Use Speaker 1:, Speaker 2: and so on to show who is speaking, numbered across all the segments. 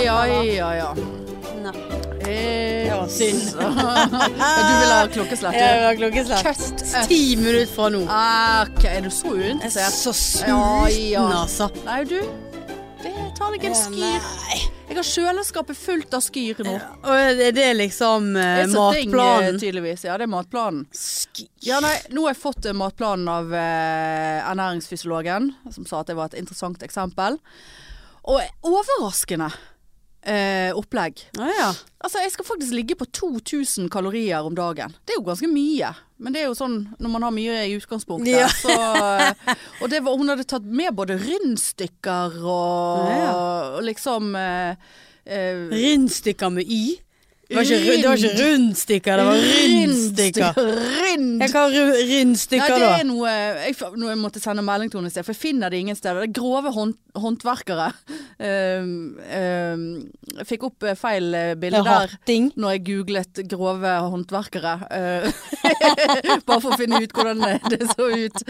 Speaker 1: ja, ja.
Speaker 2: Nei.
Speaker 1: Eh,
Speaker 2: Ja,
Speaker 1: synd. du vil ha klokkeslett?
Speaker 2: Ah, Jeg
Speaker 1: du?
Speaker 2: har klokkeslett.
Speaker 1: Cut
Speaker 2: Ti minutter fra nå.
Speaker 1: Ah, ok, er du så
Speaker 2: Jeg er
Speaker 1: uinteressert?
Speaker 2: så
Speaker 1: Ja,
Speaker 2: sulten,
Speaker 1: ja.
Speaker 2: altså.
Speaker 1: Nei, du. Det tar deg en skyr. Jeg har kjøleskapet fullt av skyr nå.
Speaker 2: Og er det liksom eh,
Speaker 1: Det er så ting, eh,
Speaker 2: matplanen?
Speaker 1: tydeligvis. Ja, det er matplanen.
Speaker 2: Sk-
Speaker 1: Ja, nei, nå har jeg fått eh, matplanen av eh, ernæringsfysiologen, som sa at det var et interessant eksempel. Og overraskende eh, opplegg.
Speaker 2: Å ja.
Speaker 1: Altså, jeg skal faktisk ligge på 2000 kalorier om dagen. Det er jo ganske mye. Men det er jo sånn når man har mye i utgangspunktet.
Speaker 2: Ja.
Speaker 1: Så, eh, og det var, hun hadde tatt med både rundstykker og, og liksom eh, eh,
Speaker 2: Rundstykker med y? Det var ikke, ru- det var ikke rundstykker, det var rundstykker.
Speaker 1: Rund.
Speaker 2: Jeg kan ha ru-
Speaker 1: Nei,
Speaker 2: rundstykker
Speaker 1: det
Speaker 2: da.
Speaker 1: er noe jeg, f- noe jeg måtte sende melding til henne i sted, for jeg finner det ingen steder. Det er grove hånd, håndverkere. Ehm, ehm, jeg fikk opp eh, feil eh, bilde der
Speaker 2: Ratting.
Speaker 1: når jeg googlet grove håndverkere. eh, bare for å finne ut hvordan det så ut.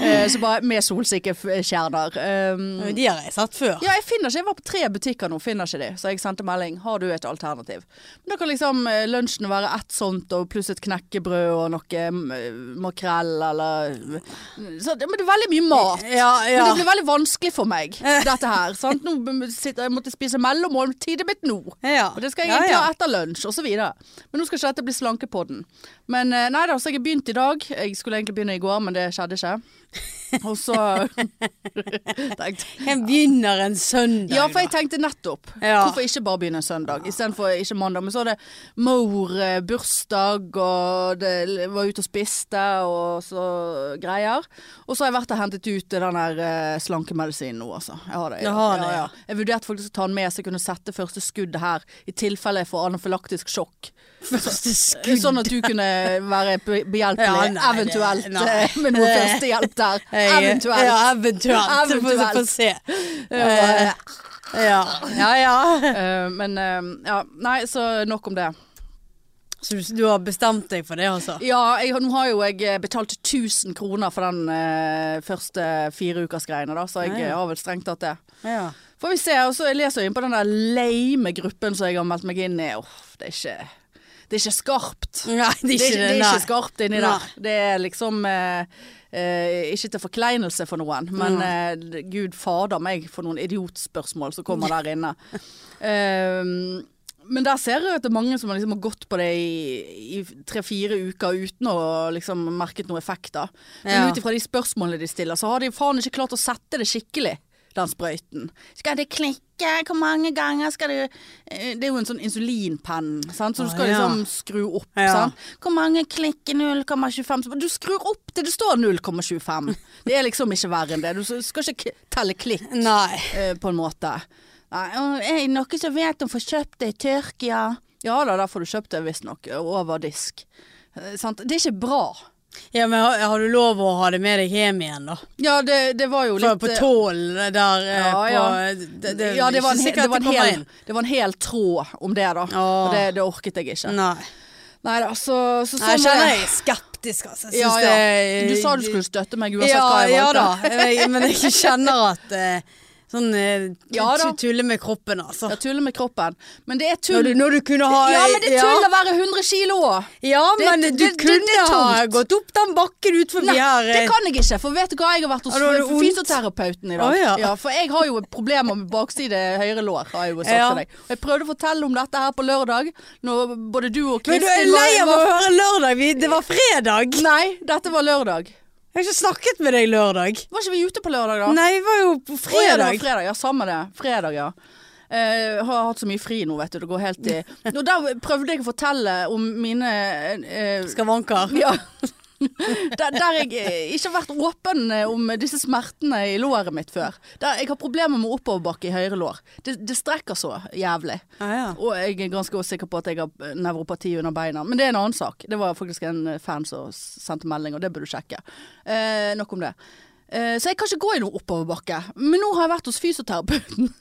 Speaker 1: Eh, så bare med solsikkeskjerner. Um,
Speaker 2: Men De har jeg sett før.
Speaker 1: ja, jeg finner ikke, jeg var på tre butikker nå, finner ikke de. Så jeg sendte melding, har du et alternativ? Men da kan liksom eh, lunsjen være ett sånt, og pluss et knekkebrød og noe eh, makrell, eller eh, så, det- Men det er veldig mye mat.
Speaker 2: Ja, ja.
Speaker 1: Men det ble veldig vanskelig for meg, dette her. Sant? Nå b- sitter, jeg måtte spise mellommåltidet mitt nå.
Speaker 2: Ja.
Speaker 1: Og det skal jeg
Speaker 2: Ja,
Speaker 1: egentlig
Speaker 2: ja.
Speaker 1: ha etter lunsj, osv. Men nå skal ikke dette bli slankepodden. Men eh, nei da, så jeg har begynt i dag. Jeg skulle egentlig begynne i går, men det skjedde ikke. Og så tenkte
Speaker 2: Jeg begynner en søndag.
Speaker 1: ja, for jeg
Speaker 2: da.
Speaker 1: tenkte nettopp.
Speaker 2: Ja.
Speaker 1: Hvorfor ikke bare begynne søndag istedenfor ikke mandag? Men så er det mor eh, bursdag, og det var ute og spiste og så greier. Og så har jeg vært og hentet ut den der eh, slankemedisinen nå, altså. Jeg har det.
Speaker 2: Du har det, ja.
Speaker 1: Jeg vurderte faktisk å ta den med så jeg kunne sette første skuddet her, i tilfelle jeg får anafylaktisk sjokk.
Speaker 2: Første skudd.
Speaker 1: Sånn at du kunne være be- behjelpelig,
Speaker 2: Ja, nei, det-
Speaker 1: eventuelt,
Speaker 2: nei.
Speaker 1: eh, med noe førstehjelp der.
Speaker 2: Jeg-
Speaker 1: Eventuelt.
Speaker 2: Ja, eventuelt. Så får vi
Speaker 1: Eventuelt.
Speaker 2: få se. Eh, Ja, ja. ja.
Speaker 1: Eh, men eh, ja, nei, så nok om det.
Speaker 2: Så du, du har bestemt deg for det, altså?
Speaker 1: Ja, jeg, nå har jo jeg eh, betalt 1000 kroner for den eh, første fireukersgreiene, da, så jeg
Speaker 2: Ja, ja.
Speaker 1: eh, har vel strengt tatt det.
Speaker 2: Ja.
Speaker 1: Får vi se. Og så leser jeg inn på den der lame gruppen som jeg har meldt meg inn i. Uff, det er ikke, det er ikke skarpt.
Speaker 2: Nei, det er ikke
Speaker 1: det er
Speaker 2: nei.
Speaker 1: ikke skarpt inni
Speaker 2: Nei.
Speaker 1: der. Det er liksom eh, eh, Ikke til forkleinelse for noen, men
Speaker 2: Mm.
Speaker 1: eh, gud fader meg for noen idiotspørsmål som kommer der inne. Ehm, men der ser jeg at det er mange som har liksom har gått på det i, i tre-fire uker uten å liksom merket noe effekt. da. Men
Speaker 2: Ja.
Speaker 1: ut ifra de spørsmålene de stiller, så har de faen ikke klart å sette det skikkelig, den sprøyten. Skal det klikke? Hvor mange ganger skal du Eh, Det er jo en sånn insulinpenn, sant? så
Speaker 2: Å,
Speaker 1: du skal
Speaker 2: ja.
Speaker 1: liksom skru opp.
Speaker 2: Ja.
Speaker 1: Sant? Hvor mange klikk er 0,25? Du skrur opp til det står 0,25. Det er liksom ikke verre enn det. Du skal ikke k- telle klikk
Speaker 2: Nei.
Speaker 1: eh, på en måte. Nei, «Å, er det noen som vet om får kjøpt det i Tyrkia? Ja da, der får du kjøpt det visstnok. Over disk. Eh, sant? Det er ikke bra.
Speaker 2: Ja, men har, har du lov å ha det med deg hjem igjen, da?
Speaker 1: Ja, det, det var jo
Speaker 2: For
Speaker 1: litt
Speaker 2: på
Speaker 1: eh,
Speaker 2: tålen der eh,
Speaker 1: Ja, ja.
Speaker 2: På, det, det,
Speaker 1: ja, det var, en,
Speaker 2: ikke
Speaker 1: he-
Speaker 2: sikkert
Speaker 1: det, var en
Speaker 2: kommer
Speaker 1: hel,
Speaker 2: inn.
Speaker 1: det var en hel tråd om det, da.
Speaker 2: Åh.
Speaker 1: Og det, det orket jeg ikke.
Speaker 2: Nei.
Speaker 1: Nei da, så, så sånn
Speaker 2: Nei, jeg kjenner
Speaker 1: er-
Speaker 2: jeg er skeptisk, altså. Jeg
Speaker 1: Ja,
Speaker 2: synes
Speaker 1: ja.
Speaker 2: det-
Speaker 1: Du sa du skulle støtte meg uansett
Speaker 2: ja,
Speaker 1: hva jeg
Speaker 2: ja da,
Speaker 1: valgte.
Speaker 2: Jeg- men jeg kjenner at eh, sånn eh,
Speaker 1: Ja da.
Speaker 2: tu- tulle med kroppen, altså.
Speaker 1: Jeg tuller med kroppen. Men det er
Speaker 2: Når
Speaker 1: tull.
Speaker 2: du, når du kunne ha
Speaker 1: Ja, men det er
Speaker 2: ja.
Speaker 1: tull å være 100 kilo òg.
Speaker 2: Ja,
Speaker 1: Det-
Speaker 2: men du
Speaker 1: det- det- det
Speaker 2: kunne
Speaker 1: er
Speaker 2: ha
Speaker 1: tungt.
Speaker 2: gått opp den bakken ut forbi
Speaker 1: Nei,
Speaker 2: her.
Speaker 1: det
Speaker 2: eh,
Speaker 1: kan jeg ikke, for vet du hva, jeg har vært hos
Speaker 2: Har du det vondt?
Speaker 1: fysioterapeuten i dag.
Speaker 2: Å, ja.
Speaker 1: For jeg har jo problemer med bakside høyre lår, har jeg jo sagt
Speaker 2: Ja.
Speaker 1: til deg. Og jeg prøvde å fortelle om dette her på lørdag, når både du og
Speaker 2: Men du er
Speaker 1: Kristin
Speaker 2: lei av å høre lørdag. Vi, det var fredag.
Speaker 1: Nei, dette var lørdag.
Speaker 2: Jeg har ikke snakket med deg lørdag.
Speaker 1: Var ikke vi ute på lørdag, da?
Speaker 2: Nei, vi var jo på
Speaker 1: Å, ja, det var
Speaker 2: fredag.
Speaker 1: fredag. Ja, samme det. Fredag, ja. Eh, har hatt så mye fri nå, vet du. Det går helt i Og der prøvde jeg å fortelle om mine eh,
Speaker 2: Skavanker.
Speaker 1: Ja. Der, der jeg eh, ikke har vært åpen eh, om disse smertene i låret mitt før. Der jeg har problemer med oppoverbakke i høyre lår. Det, det strekker så jævlig.
Speaker 2: Ja, ja.
Speaker 1: Og jeg er ganske også sikker på at jeg har eh, nevropati under beina. Men det er en annen sak. Det var faktisk en eh, fan som s- sendte melding, og det burde du sjekke. Eh, nok om det. Eh, så jeg kan ikke gå i noe oppoverbakke. Men nå har jeg vært hos fysioterapeuten.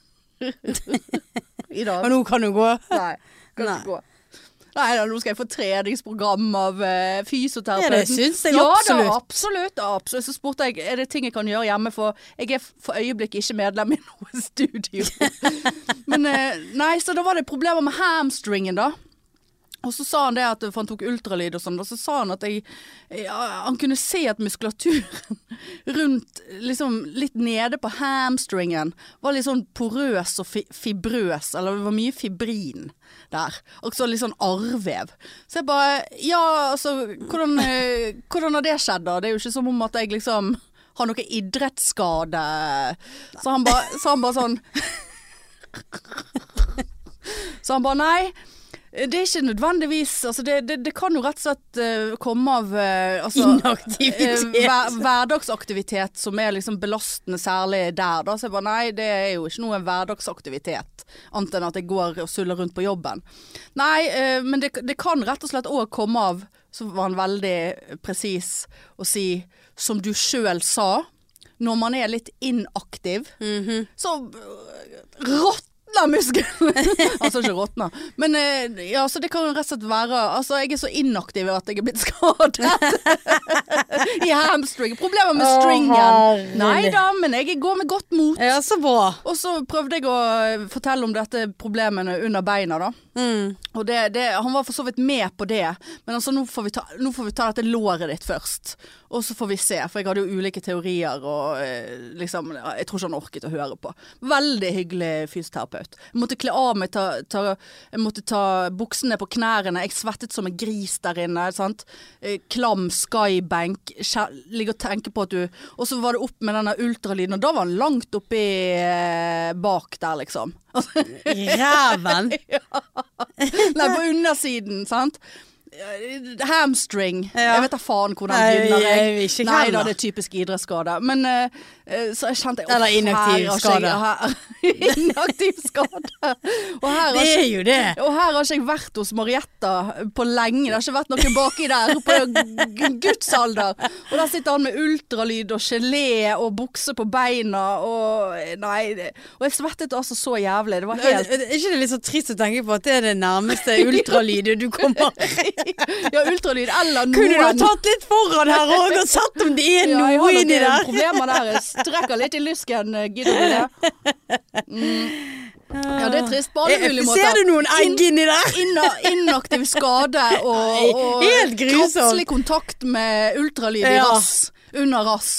Speaker 1: I dag.
Speaker 2: Og nå kan du gå.
Speaker 1: Nei. Kan
Speaker 2: Nei.
Speaker 1: ikke gå. Nei da, nå skal jeg få treningsprogram av eh, fysioterapeuten.
Speaker 2: Ja, det syns jeg
Speaker 1: Ja da,
Speaker 2: absolutt.
Speaker 1: absolutt. absolutt. Så spurte jeg er det ting jeg kan gjøre hjemme, for jeg er for øyeblikket ikke medlem i noe studio. Men eh, nei, så da var det problemer med hamstringen, da. Og så sa han det at for han tok ultralyd og sånn, og så sa han at jeg, ja, han kunne se at muskulaturen rundt, liksom litt nede på hamstringen, var litt sånn porøs og fi fibrøs, eller det var mye fibrin der. Og så litt sånn arrvev. Så jeg bare, ja, altså, hvordan, eh, hvordan har det skjedd da? Det er jo ikke som om at jeg liksom har noe idrettsskade. Så han bare så han bare sånn Så han bare nei. Det er ikke nødvendigvis altså det, det, det kan jo rett og slett eh, komme av eh, altså,
Speaker 2: Inaktivitet.
Speaker 1: eh, hver, hverdagsaktivitet som er liksom belastende, særlig der. Da. Så jeg bare nei, det er jo ikke noe hverdagsaktivitet, annet enn at jeg går og suller rundt på jobben. Nei, eh, men det, det kan rett og slett òg komme av, så var han veldig presis å si, som du sjøl sa, når man er litt inaktiv, så øh, råtner musklene. altså ikke råtner, men eh, ja, så det kan rett og slett være Altså, jeg er så inaktiv at jeg er blitt skadet i hamstring. Problemer med
Speaker 2: Å,
Speaker 1: stringen.
Speaker 2: herlig.
Speaker 1: Nei da, men jeg går med godt mot.
Speaker 2: Ja, så bra.
Speaker 1: Og så prøvde jeg å fortelle om dette problemene under beina, da.
Speaker 2: Mm.
Speaker 1: Og det, det, han var for så vidt med på det, men altså, nå, får vi ta, nå får vi ta dette låret ditt først. Og så får vi se, for jeg hadde jo ulike teorier og eh, liksom Jeg tror ikke han orket å høre på. Veldig hyggelig fysioterapeut. Jeg måtte kle av meg, ta, ta, jeg måtte ta buksene på knærne. Jeg svettet som en gris der inne. Sant? Eh, Klam skybank. Kje- Ligger og tenker på at du Og så var det opp med denne ultralyden, og da var han langt oppi eh, bak der, liksom.
Speaker 2: I ræven.
Speaker 1: Nei, på undersiden, sant? Eh, Hamstring.
Speaker 2: Ja.
Speaker 1: Jeg vet da faen hvordan
Speaker 2: Nei,
Speaker 1: gynner
Speaker 2: jeg vil ikke
Speaker 1: Nei da,
Speaker 2: heller.
Speaker 1: det er typisk idrettsskade. Men eh, eh, så jeg kjente jeg
Speaker 2: Eller inaktiv skade.
Speaker 1: Inaktiv skade. Og her har
Speaker 2: Det
Speaker 1: ikke
Speaker 2: er jo det.
Speaker 1: og her har ikke jeg vært hos Marietta på lenge. Det har ikke vært noen baki der på g- Guds alder. Og der sitter han med ultralyd og gelé og bukse på beina og Nei. det- Og jeg svettet altså så jævlig. Det var helt
Speaker 2: Er ikke det litt så trist å tenke på at det er det nærmeste ultralydet du kommer?
Speaker 1: Ja, ultralyd eller noen.
Speaker 2: Kunne du tatt litt foran her òg og sett om det er
Speaker 1: ja, jeg
Speaker 2: noe
Speaker 1: har
Speaker 2: inni
Speaker 1: noen
Speaker 2: der?
Speaker 1: problemer der. Jeg strekker litt i lysken. eh, Gidder du det? Mm. Ja, det er trist på alle mulige måter.
Speaker 2: Eh, Ser du noen egg inni der?
Speaker 1: Inna, inaktiv skade og, og eh,
Speaker 2: Helt grusomt.
Speaker 1: kroppslig kontakt med ultralyd i
Speaker 2: Ja.
Speaker 1: rass. Under rass.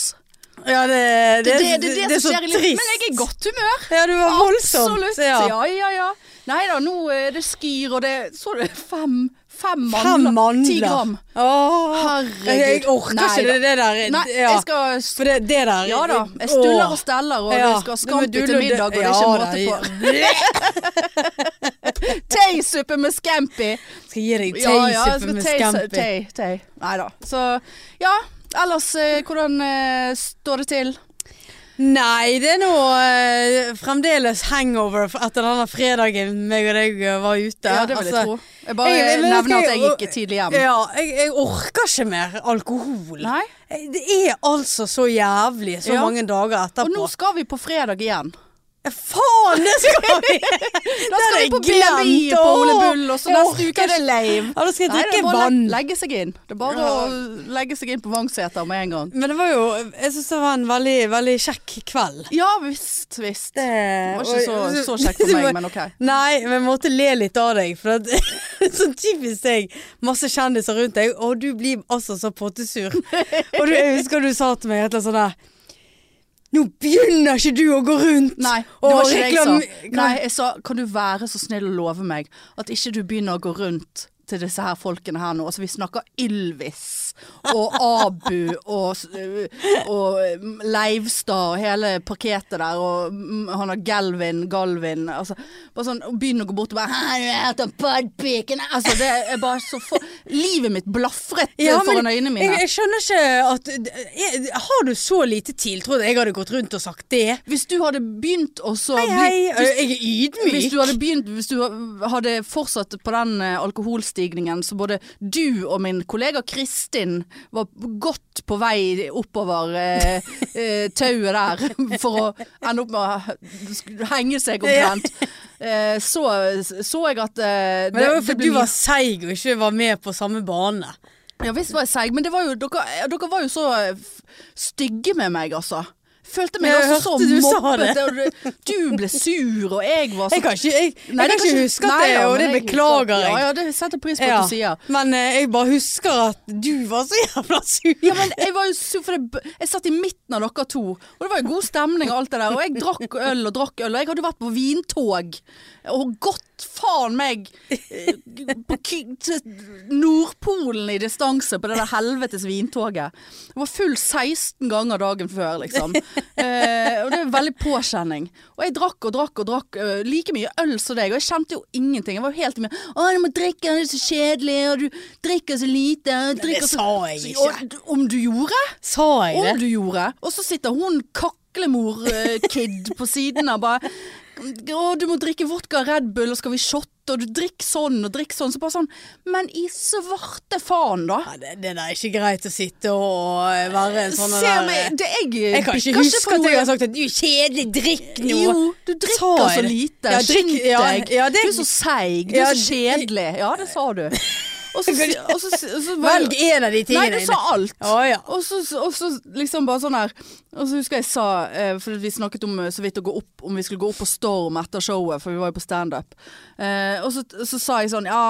Speaker 2: Ja, det,
Speaker 1: Det,
Speaker 2: det,
Speaker 1: det, det,
Speaker 2: det er
Speaker 1: som
Speaker 2: så
Speaker 1: skjer i livet.
Speaker 2: trist.
Speaker 1: Men jeg er i godt humør.
Speaker 2: Ja, du var voldsomt.
Speaker 1: Absolutt.
Speaker 2: ja.
Speaker 1: Ja, ja, ja. Nei da, nå eh, det skyr, og det Så du fem, fem
Speaker 2: Fem
Speaker 1: mandler?
Speaker 2: mandler.
Speaker 1: Ti gram.
Speaker 2: Åh,
Speaker 1: Herregud.
Speaker 2: Jeg orker
Speaker 1: Nei
Speaker 2: ikke det, det der.
Speaker 1: Nei,
Speaker 2: Eh, ja.
Speaker 1: jeg skal
Speaker 2: For det, det der
Speaker 1: Ja da. Jeg
Speaker 2: Åh.
Speaker 1: stuller og steller, og
Speaker 2: Ja,
Speaker 1: det skal
Speaker 2: men
Speaker 1: scampi
Speaker 2: du-
Speaker 1: til middag, og det er
Speaker 2: Ja,
Speaker 1: ikke måte
Speaker 2: da,
Speaker 1: på.
Speaker 2: ja.
Speaker 1: Teisuppe med scampi!
Speaker 2: Skal gi deg
Speaker 1: Ja, ja, jeg
Speaker 2: teisuppe
Speaker 1: skal
Speaker 2: med
Speaker 1: teis-
Speaker 2: scampi.
Speaker 1: tei- tei. Nei da. Så ja. Ellers, eh, hvordan eh, står det til?
Speaker 2: Nei, det er nå eh, fremdeles hangover for- etter denne fredagen meg og deg eh, var ute.
Speaker 1: Ja, det vil jeg
Speaker 2: Altså,
Speaker 1: tro. Jeg bare
Speaker 2: jeg- jeg- men
Speaker 1: nevner
Speaker 2: jeg-
Speaker 1: at jeg gikk tidlig hjem.
Speaker 2: Ja, jeg, jeg orker ikke mer alkohol.
Speaker 1: Nei.
Speaker 2: Det er altså så jævlig så
Speaker 1: Ja.
Speaker 2: mange dager
Speaker 1: Og nå
Speaker 2: etterpå. Eh,
Speaker 1: skal vi på fredag igjen.
Speaker 2: Faen, det skal vi!
Speaker 1: Da skal
Speaker 2: hadde
Speaker 1: vi på
Speaker 2: jeg glemt.
Speaker 1: BMI på Ole Bull, og så
Speaker 2: Jeg
Speaker 1: neste
Speaker 2: orker
Speaker 1: uke er det lave.
Speaker 2: Ja, da skal jeg
Speaker 1: Nei, det er
Speaker 2: drikke
Speaker 1: bare å
Speaker 2: vann.
Speaker 1: le- legge seg inn. Det er bare å legge seg inn på Vangseter med en gang.
Speaker 2: Men det var jo Jeg syns det var en veldig, veldig kjekk kveld.
Speaker 1: Ja visst, visst.
Speaker 2: Det
Speaker 1: Det var ikke så, så kjekt for meg, men OK.
Speaker 2: Nei, men jeg måtte le litt av deg. For at, sånn typisk deg. Masse kjendiser rundt deg, og du blir altså så pottesur. Og du, jeg husker du sa til meg et eller annet sånn der Nå begynner ikke du å gå rundt
Speaker 1: Nei, det var ikke det jeg sa. Nei, jeg sa kan du være så snill å love meg at ikke du begynner å gå rundt til disse her folkene her nå. Altså vi snakker Ylvis og Abu og, s- øh, og øh, Leivstad og hele parketet der og mm, han har Galvin, Galvin altså, Bare sånn og begynner å gå bort og bare «Hæ, du heter Podpiken Altså det er bare så for Livet mitt blafret eh,
Speaker 2: Ja, men
Speaker 1: foran øynene mine.
Speaker 2: Jeg, jeg skjønner ikke at jeg, Har du så lite tiltro at jeg hadde gått rundt og sagt det?
Speaker 1: Hvis du hadde begynt å så
Speaker 2: Hei,
Speaker 1: bli-
Speaker 2: hei, jeg er
Speaker 1: Hvis
Speaker 2: ydmyk.
Speaker 1: du hadde begynt Hvis du hadde fortsatt på den eh, alkoholstigningen, så både du og min kollega Kristin var godt på vei oppover eh, eh, tauet der for å ende opp med å henge seg omtrent. eh, så, så jeg at eh,
Speaker 2: Men det var jo fordi du
Speaker 1: ble
Speaker 2: var seig og ikke var med på samme bane.
Speaker 1: Ja visst var jeg seig, men det var jo, dere, dere var jo så f- stygge med meg, altså. Følte meg
Speaker 2: Jeg
Speaker 1: altså
Speaker 2: hørte
Speaker 1: så
Speaker 2: du sa
Speaker 1: mobbete. og Du, du ble sur, og jeg var så
Speaker 2: Jeg kan ikke, jeg,
Speaker 1: Nei,
Speaker 2: jeg
Speaker 1: det
Speaker 2: kan ikke huske at det,
Speaker 1: Nei, ja,
Speaker 2: og det
Speaker 1: men jeg-
Speaker 2: beklager jeg.
Speaker 1: Ja, ja, det setter jeg pris på
Speaker 2: Ja.
Speaker 1: at du sier.
Speaker 2: Men eh, jeg bare husker at du var så jævla sur.
Speaker 1: Ja, men jeg var jo sur, for det, jeg satt i midten av dere to, og det var jo god stemning og alt det der. Og jeg drakk øl og drakk øl, og jeg hadde vært på vintog og gått faen meg eh, på Ky- til Nordpolen i distanse på det der helvetes vintoget. Jeg var full 16 ganger dagen før, liksom. Eh, og det er veldig påkjenning. Og jeg drakk og drakk og drakk eh, like mye øl som deg, og jeg kjente jo ingenting. Jeg var jo helt i min Å, du må drikke, det er så kjedelig, og du drikker så lite. og du
Speaker 2: Det
Speaker 1: drikker så
Speaker 2: sa jeg
Speaker 1: så-
Speaker 2: ikke.
Speaker 1: og- Om du gjorde?
Speaker 2: Sa jeg
Speaker 1: Om
Speaker 2: det?
Speaker 1: du gjorde. Og så sitter hun kaklemor-kid på siden og bare Å, du må drikke vodka og Red Bull, og skal vi shotte, og du drikker sånn og drikker sånn. Så bare sånn Men i svarte faen, da.
Speaker 2: Ja, det, det der er ikke greit å sitte og eh, være en
Speaker 1: Se
Speaker 2: sånn der
Speaker 1: meg det, Jeg,
Speaker 2: Jeg kan ikke
Speaker 1: bikker
Speaker 2: huske
Speaker 1: for
Speaker 2: at jeg
Speaker 1: noe.
Speaker 2: har sagt at du er kjedelig, drikk nå.
Speaker 1: Jo, du
Speaker 2: Sa jeg
Speaker 1: drikker så
Speaker 2: det?
Speaker 1: lite.
Speaker 2: Ja, drikk-
Speaker 1: Skynd
Speaker 2: ja,
Speaker 1: deg.
Speaker 2: ja, det-
Speaker 1: Du er så seig. Du
Speaker 2: Ja,
Speaker 1: er
Speaker 2: det-
Speaker 1: så kjedelig. Ja, det sa du. Og så, og så, og så
Speaker 2: Velg en av de
Speaker 1: Nei,
Speaker 2: tingene
Speaker 1: du sa alt.
Speaker 2: Å ja.
Speaker 1: Og så, og så liksom bare sånn her Og så husker jeg sa eh, For vi snakket om eh, så vidt å gå opp Om vi skulle gå opp på Storm etter showet For vi var jo på stand-up eh, Og så, så sa jeg sånn Ja,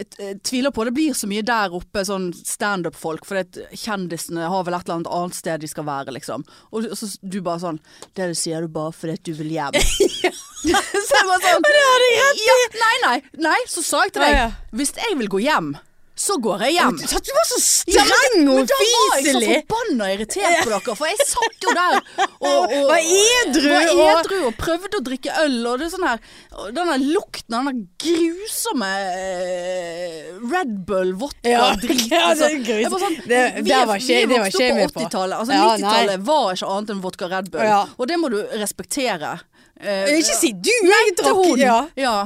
Speaker 1: jeg t- jeg tviler på det blir så mye der oppe Sånn stand-up-folk For det, at kjendisene har vel et eller annet annet sted de skal være liksom Og, du- og så du bare sånn Det du sier du bare fordi at du vil hjem Så jeg bare sånn
Speaker 2: Det hadde jeg rett i.
Speaker 1: ja, nei, nei, nei, så sa jeg til
Speaker 2: Ja, ja.
Speaker 1: deg Hvis jeg vil gå hjem Så går jeg hjem
Speaker 2: Du sa at du var så
Speaker 1: ja, men,
Speaker 2: streng
Speaker 1: men
Speaker 2: og
Speaker 1: da var jeg så
Speaker 2: fiselig.
Speaker 1: forbanna irritert på dere, for jeg satt jo der og, og,
Speaker 2: Var edru
Speaker 1: var
Speaker 2: og-
Speaker 1: edru og prøvde å drikke øl, og det er sånn her og Den der lukten av den der grusomme eh, Red Bull, vodka,
Speaker 2: Ja,
Speaker 1: drit
Speaker 2: ja, det er
Speaker 1: altså.
Speaker 2: grus-
Speaker 1: Jeg bare sånn,
Speaker 2: det-
Speaker 1: vi
Speaker 2: det
Speaker 1: er-
Speaker 2: var ikke- det
Speaker 1: vi
Speaker 2: var
Speaker 1: vokste
Speaker 2: ikke jeg
Speaker 1: opp
Speaker 2: med
Speaker 1: på
Speaker 2: på.
Speaker 1: 80-tallet. Altså,
Speaker 2: Ja, nei.
Speaker 1: 90-tallet var ikke annet enn vodka Red Bull,
Speaker 2: Ja.
Speaker 1: og det må du respektere. Eh,
Speaker 2: Ikke si du, jeg
Speaker 1: til
Speaker 2: drakk.
Speaker 1: hun.
Speaker 2: Ja.
Speaker 1: Ja.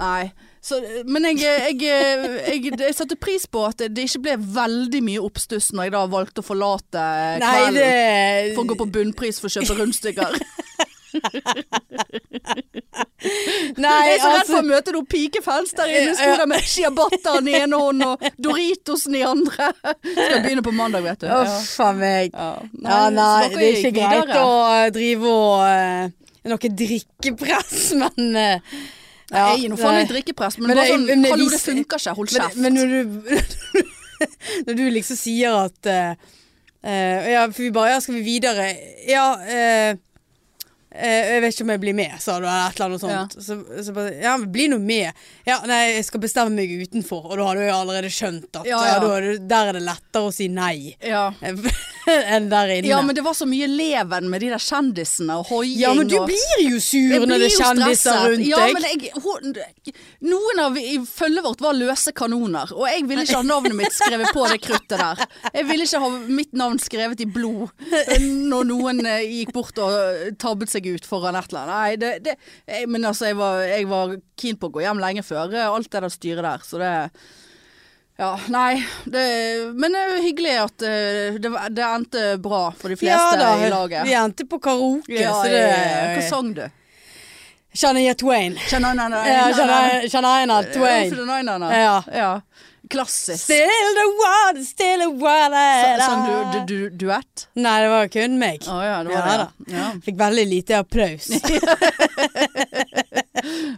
Speaker 1: Nei. Så, men jeg, jeg, jeg, jeg, satte pris på at det ikke ble veldig mye oppstuss når jeg da valgte å forlate
Speaker 2: Nei,
Speaker 1: kvelden
Speaker 2: det
Speaker 1: for å gå på bunnpris for å kjøpe rundstykker.
Speaker 2: Nei,
Speaker 1: jeg er så redd
Speaker 2: altså
Speaker 1: for å møte noen pikefans der inne. Sto der med ciabattaen i ene hånden og Doritosen i andre. Skal begynne på mandag, vet du.
Speaker 2: Uff a meg.
Speaker 1: Ja.
Speaker 2: Ja, nei,
Speaker 1: så dere
Speaker 2: det er ikke
Speaker 1: gikk
Speaker 2: greit
Speaker 1: videre.
Speaker 2: å eh, drive og eh, Noe drikkepress, men eh, ja,
Speaker 1: Jeg gir nå faen i
Speaker 2: nei.
Speaker 1: drikkepress, men,
Speaker 2: Men
Speaker 1: bare
Speaker 2: det-
Speaker 1: sånn
Speaker 2: men det
Speaker 1: Hallo, det
Speaker 2: viser-
Speaker 1: funker ikke. Hold kjeft.
Speaker 2: Men, men når, du, når du liksom sier at eh, eh, Ja, for vi bare Ja, skal vi videre? Ja eh, eh, Jeg vet ikke om jeg blir med, sa du, eller et eller annet sånt. Så, så bare Ja, men bli nå med. Ja, nei, jeg skal bestemme meg utenfor. Og da hadde jeg allerede skjønt at
Speaker 1: Ja, ja.
Speaker 2: eh, da er det- der er det lettere å si nei
Speaker 1: ja.
Speaker 2: enn der inne.
Speaker 1: ja, men det var så mye leven med de der kjendisene og hoiing
Speaker 2: Ja, men du
Speaker 1: og
Speaker 2: blir jo sur
Speaker 1: Jeg
Speaker 2: når det er
Speaker 1: blir jo
Speaker 2: kjendiser
Speaker 1: stresset.
Speaker 2: rundt
Speaker 1: ja,
Speaker 2: deg.
Speaker 1: Men jeg, hun, noen av i følget vårt var løse kanoner, og jeg ville ikke ha navnet mitt skrevet på det kruttet der. Jeg ville ikke ha mitt navn skrevet i blod eh, når noen eh, gikk bort og eh, tabbet seg ut foran et eller annet. Nei, det, det, jeg, men altså, jeg var, jeg var keen på å gå hjem lenge før eh, alt det der styret der, så det ja, nei, det, men det er jo hyggelig at eh, det, det endte bra for de fleste i laget.
Speaker 2: vi endte på karaoke,
Speaker 1: Ja,
Speaker 2: så det
Speaker 1: ja, ja. Hva sang du?
Speaker 2: Shania Twain.
Speaker 1: Kjenner han den?
Speaker 2: Ja, Shania- Shania
Speaker 1: Ja,
Speaker 2: Twain.
Speaker 1: for den ene, da.
Speaker 2: Ja.
Speaker 1: Ja. Klassisk.
Speaker 2: Still the water, still the water.
Speaker 1: Så- Sånn du, du, du, duett?
Speaker 2: Nei, det var kun meg.
Speaker 1: Å ja, det var
Speaker 2: Ja,
Speaker 1: det. Ja.
Speaker 2: Fikk veldig lite applaus.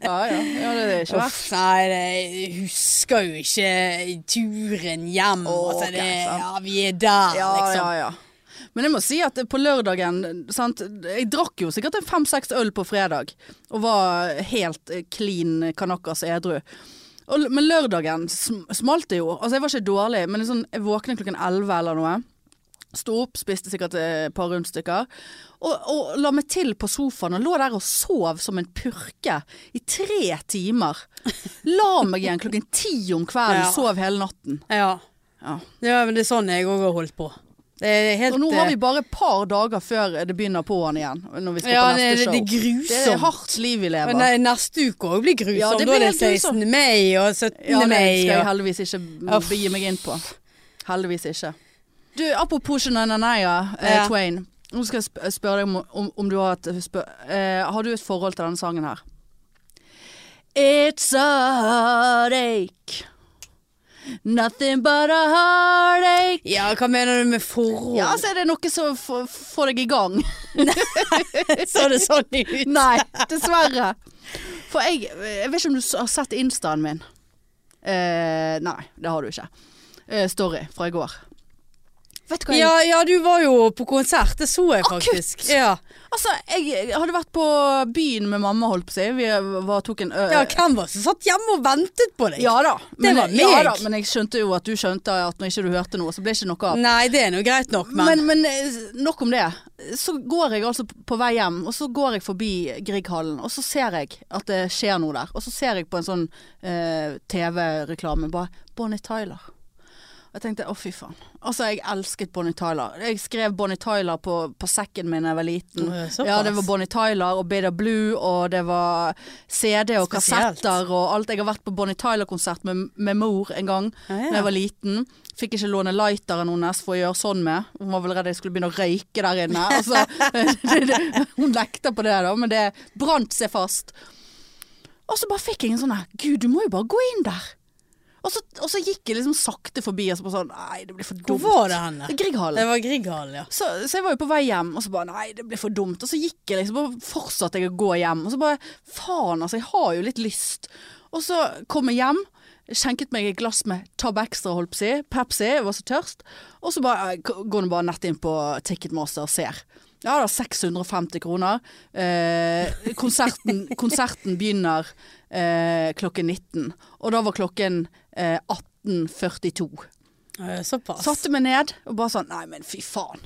Speaker 1: Ja, ja. ja, det er ikke verst.
Speaker 2: Uff, nei, det, jeg husker jo ikke turen hjem.
Speaker 1: Å,
Speaker 2: altså, det,
Speaker 1: ok, sant.
Speaker 2: ja, vi er der,
Speaker 1: Ja,
Speaker 2: liksom.
Speaker 1: ja, ja. Men jeg må si at på lørdagen sant, Jeg drakk jo sikkert en fem-seks øl på fredag. Og var helt eh, clean kanakas edru. Og, l- men lørdagen sm smalt det jo. Altså, jeg var ikke dårlig, men sånn, jeg våknet klokken elleve eller noe. Sto opp, spiste sikkert eh, et par rundstykker. Og, og la meg til på sofaen og lå der og sov som en purke i tre timer. La meg igjen klokken ti om kvelden,
Speaker 2: Ja.
Speaker 1: sov hele natten.
Speaker 2: Ja.
Speaker 1: Ja.
Speaker 2: Ja, men det er sånn jeg òg har holdt på. Det er helt
Speaker 1: Og nå har
Speaker 2: eh,
Speaker 1: vi bare et par dager før det begynner på'n igjen. Når vi skal
Speaker 2: ja,
Speaker 1: på
Speaker 2: det,
Speaker 1: neste
Speaker 2: det,
Speaker 1: show.
Speaker 2: det er
Speaker 1: Det
Speaker 2: grusomt.
Speaker 1: er hardt liv vi lever.
Speaker 2: Men nei, neste uke òg blir grusom.
Speaker 1: Ja, det
Speaker 2: da
Speaker 1: blir
Speaker 2: er det
Speaker 1: helt
Speaker 2: 16.
Speaker 1: grusomt.
Speaker 2: mai og 17.
Speaker 1: ja, det
Speaker 2: mai.
Speaker 1: skal jeg
Speaker 2: Og...
Speaker 1: heldigvis ikke
Speaker 2: Uff.
Speaker 1: begi meg inn på. Heldigvis ikke. Du, apropos Shenanaya eh,
Speaker 2: Ja.
Speaker 1: Twain. Nå skal jeg sp- spørre deg om, om, om du har et spør, eh, Har du et forhold til denne sangen her? It's a heartache. Nothing but a heartache.
Speaker 2: Ja, hva mener du med forhold?
Speaker 1: Ja, så er det noe som f- får deg i gang.
Speaker 2: så det sånn ut.
Speaker 1: Nei, dessverre. For jeg, jeg vet ikke om du s- har sett instaen min. Eh, nei, det har du ikke. Eh, story fra i går. Vet du hva jeg
Speaker 2: Ja, ja, du var jo på konsert, det så jeg
Speaker 1: Akutt!
Speaker 2: faktisk. Ja.
Speaker 1: Altså, jeg hadde vært på byen med mamma, holdt på å si. Vi var, tok en ø
Speaker 2: ja, hvem var det som satt hjemme og ventet på deg?
Speaker 1: Ja da. Men,
Speaker 2: var
Speaker 1: ja
Speaker 2: meg.
Speaker 1: da. men jeg skjønte jo at du skjønte at når ikke du hørte noe, så ble ikke noe av.
Speaker 2: Nei, det er nå greit nok, men,
Speaker 1: Men, men eh, nok om det. Så går jeg altså på vei hjem, og så går jeg forbi Grieghallen, og så ser jeg at det skjer noe der. Og så ser jeg på en sånn eh, TV-reklame bare Bonnie Tyler. Og Jeg tenkte å, fy faen. Altså, jeg elsket Bonnie Tyler. Jeg skrev Bonnie Tyler på, på sekken min da jeg var liten.
Speaker 2: Åh, såpass.
Speaker 1: Ja, det var Bonnie Tyler og Bitter Blue, og det var CD og
Speaker 2: Spesielt.
Speaker 1: kassetter og alt. Jeg har vært på Bonnie Tyler-konsert med, med mor en gang
Speaker 2: Ja, ja.
Speaker 1: da jeg var liten. Fikk ikke låne lighteren hennes for å gjøre sånn med. Hun var vel redd jeg skulle begynne å røyke der inne. Altså, det- det- hun nekta på det, da, men det brant seg fast. Og så bare fikk jeg en sånn her Gud, du må jo bare gå inn der. Og så, og så gikk jeg liksom sakte forbi og så bare sånn Nei, det blir for
Speaker 2: hvor
Speaker 1: dumt.
Speaker 2: var det henne?
Speaker 1: Grieghallen.
Speaker 2: Det var Grieghallen, ja.
Speaker 1: Så, så jeg var jo på vei hjem, og så bare nei, det blir for dumt. Og så gikk jeg liksom, og fortsatte jeg å gå hjem. Og så bare faen, altså, jeg har jo litt lyst. Og så kom jeg hjem, skjenket meg et glass med Tab Extra, holdt på å si. Pepsi, jeg var så tørst. Og så bare, eh, k- går nå bare nett inn på Ticketmaster og ser. Ja da, 650 kroner. Eh, konserten, konserten begynner eh, klokken 19, og da var klokken eh, 18.42.
Speaker 2: Eh, Såpass.
Speaker 1: Satte meg ned og bare sånn Nei, men fy faen.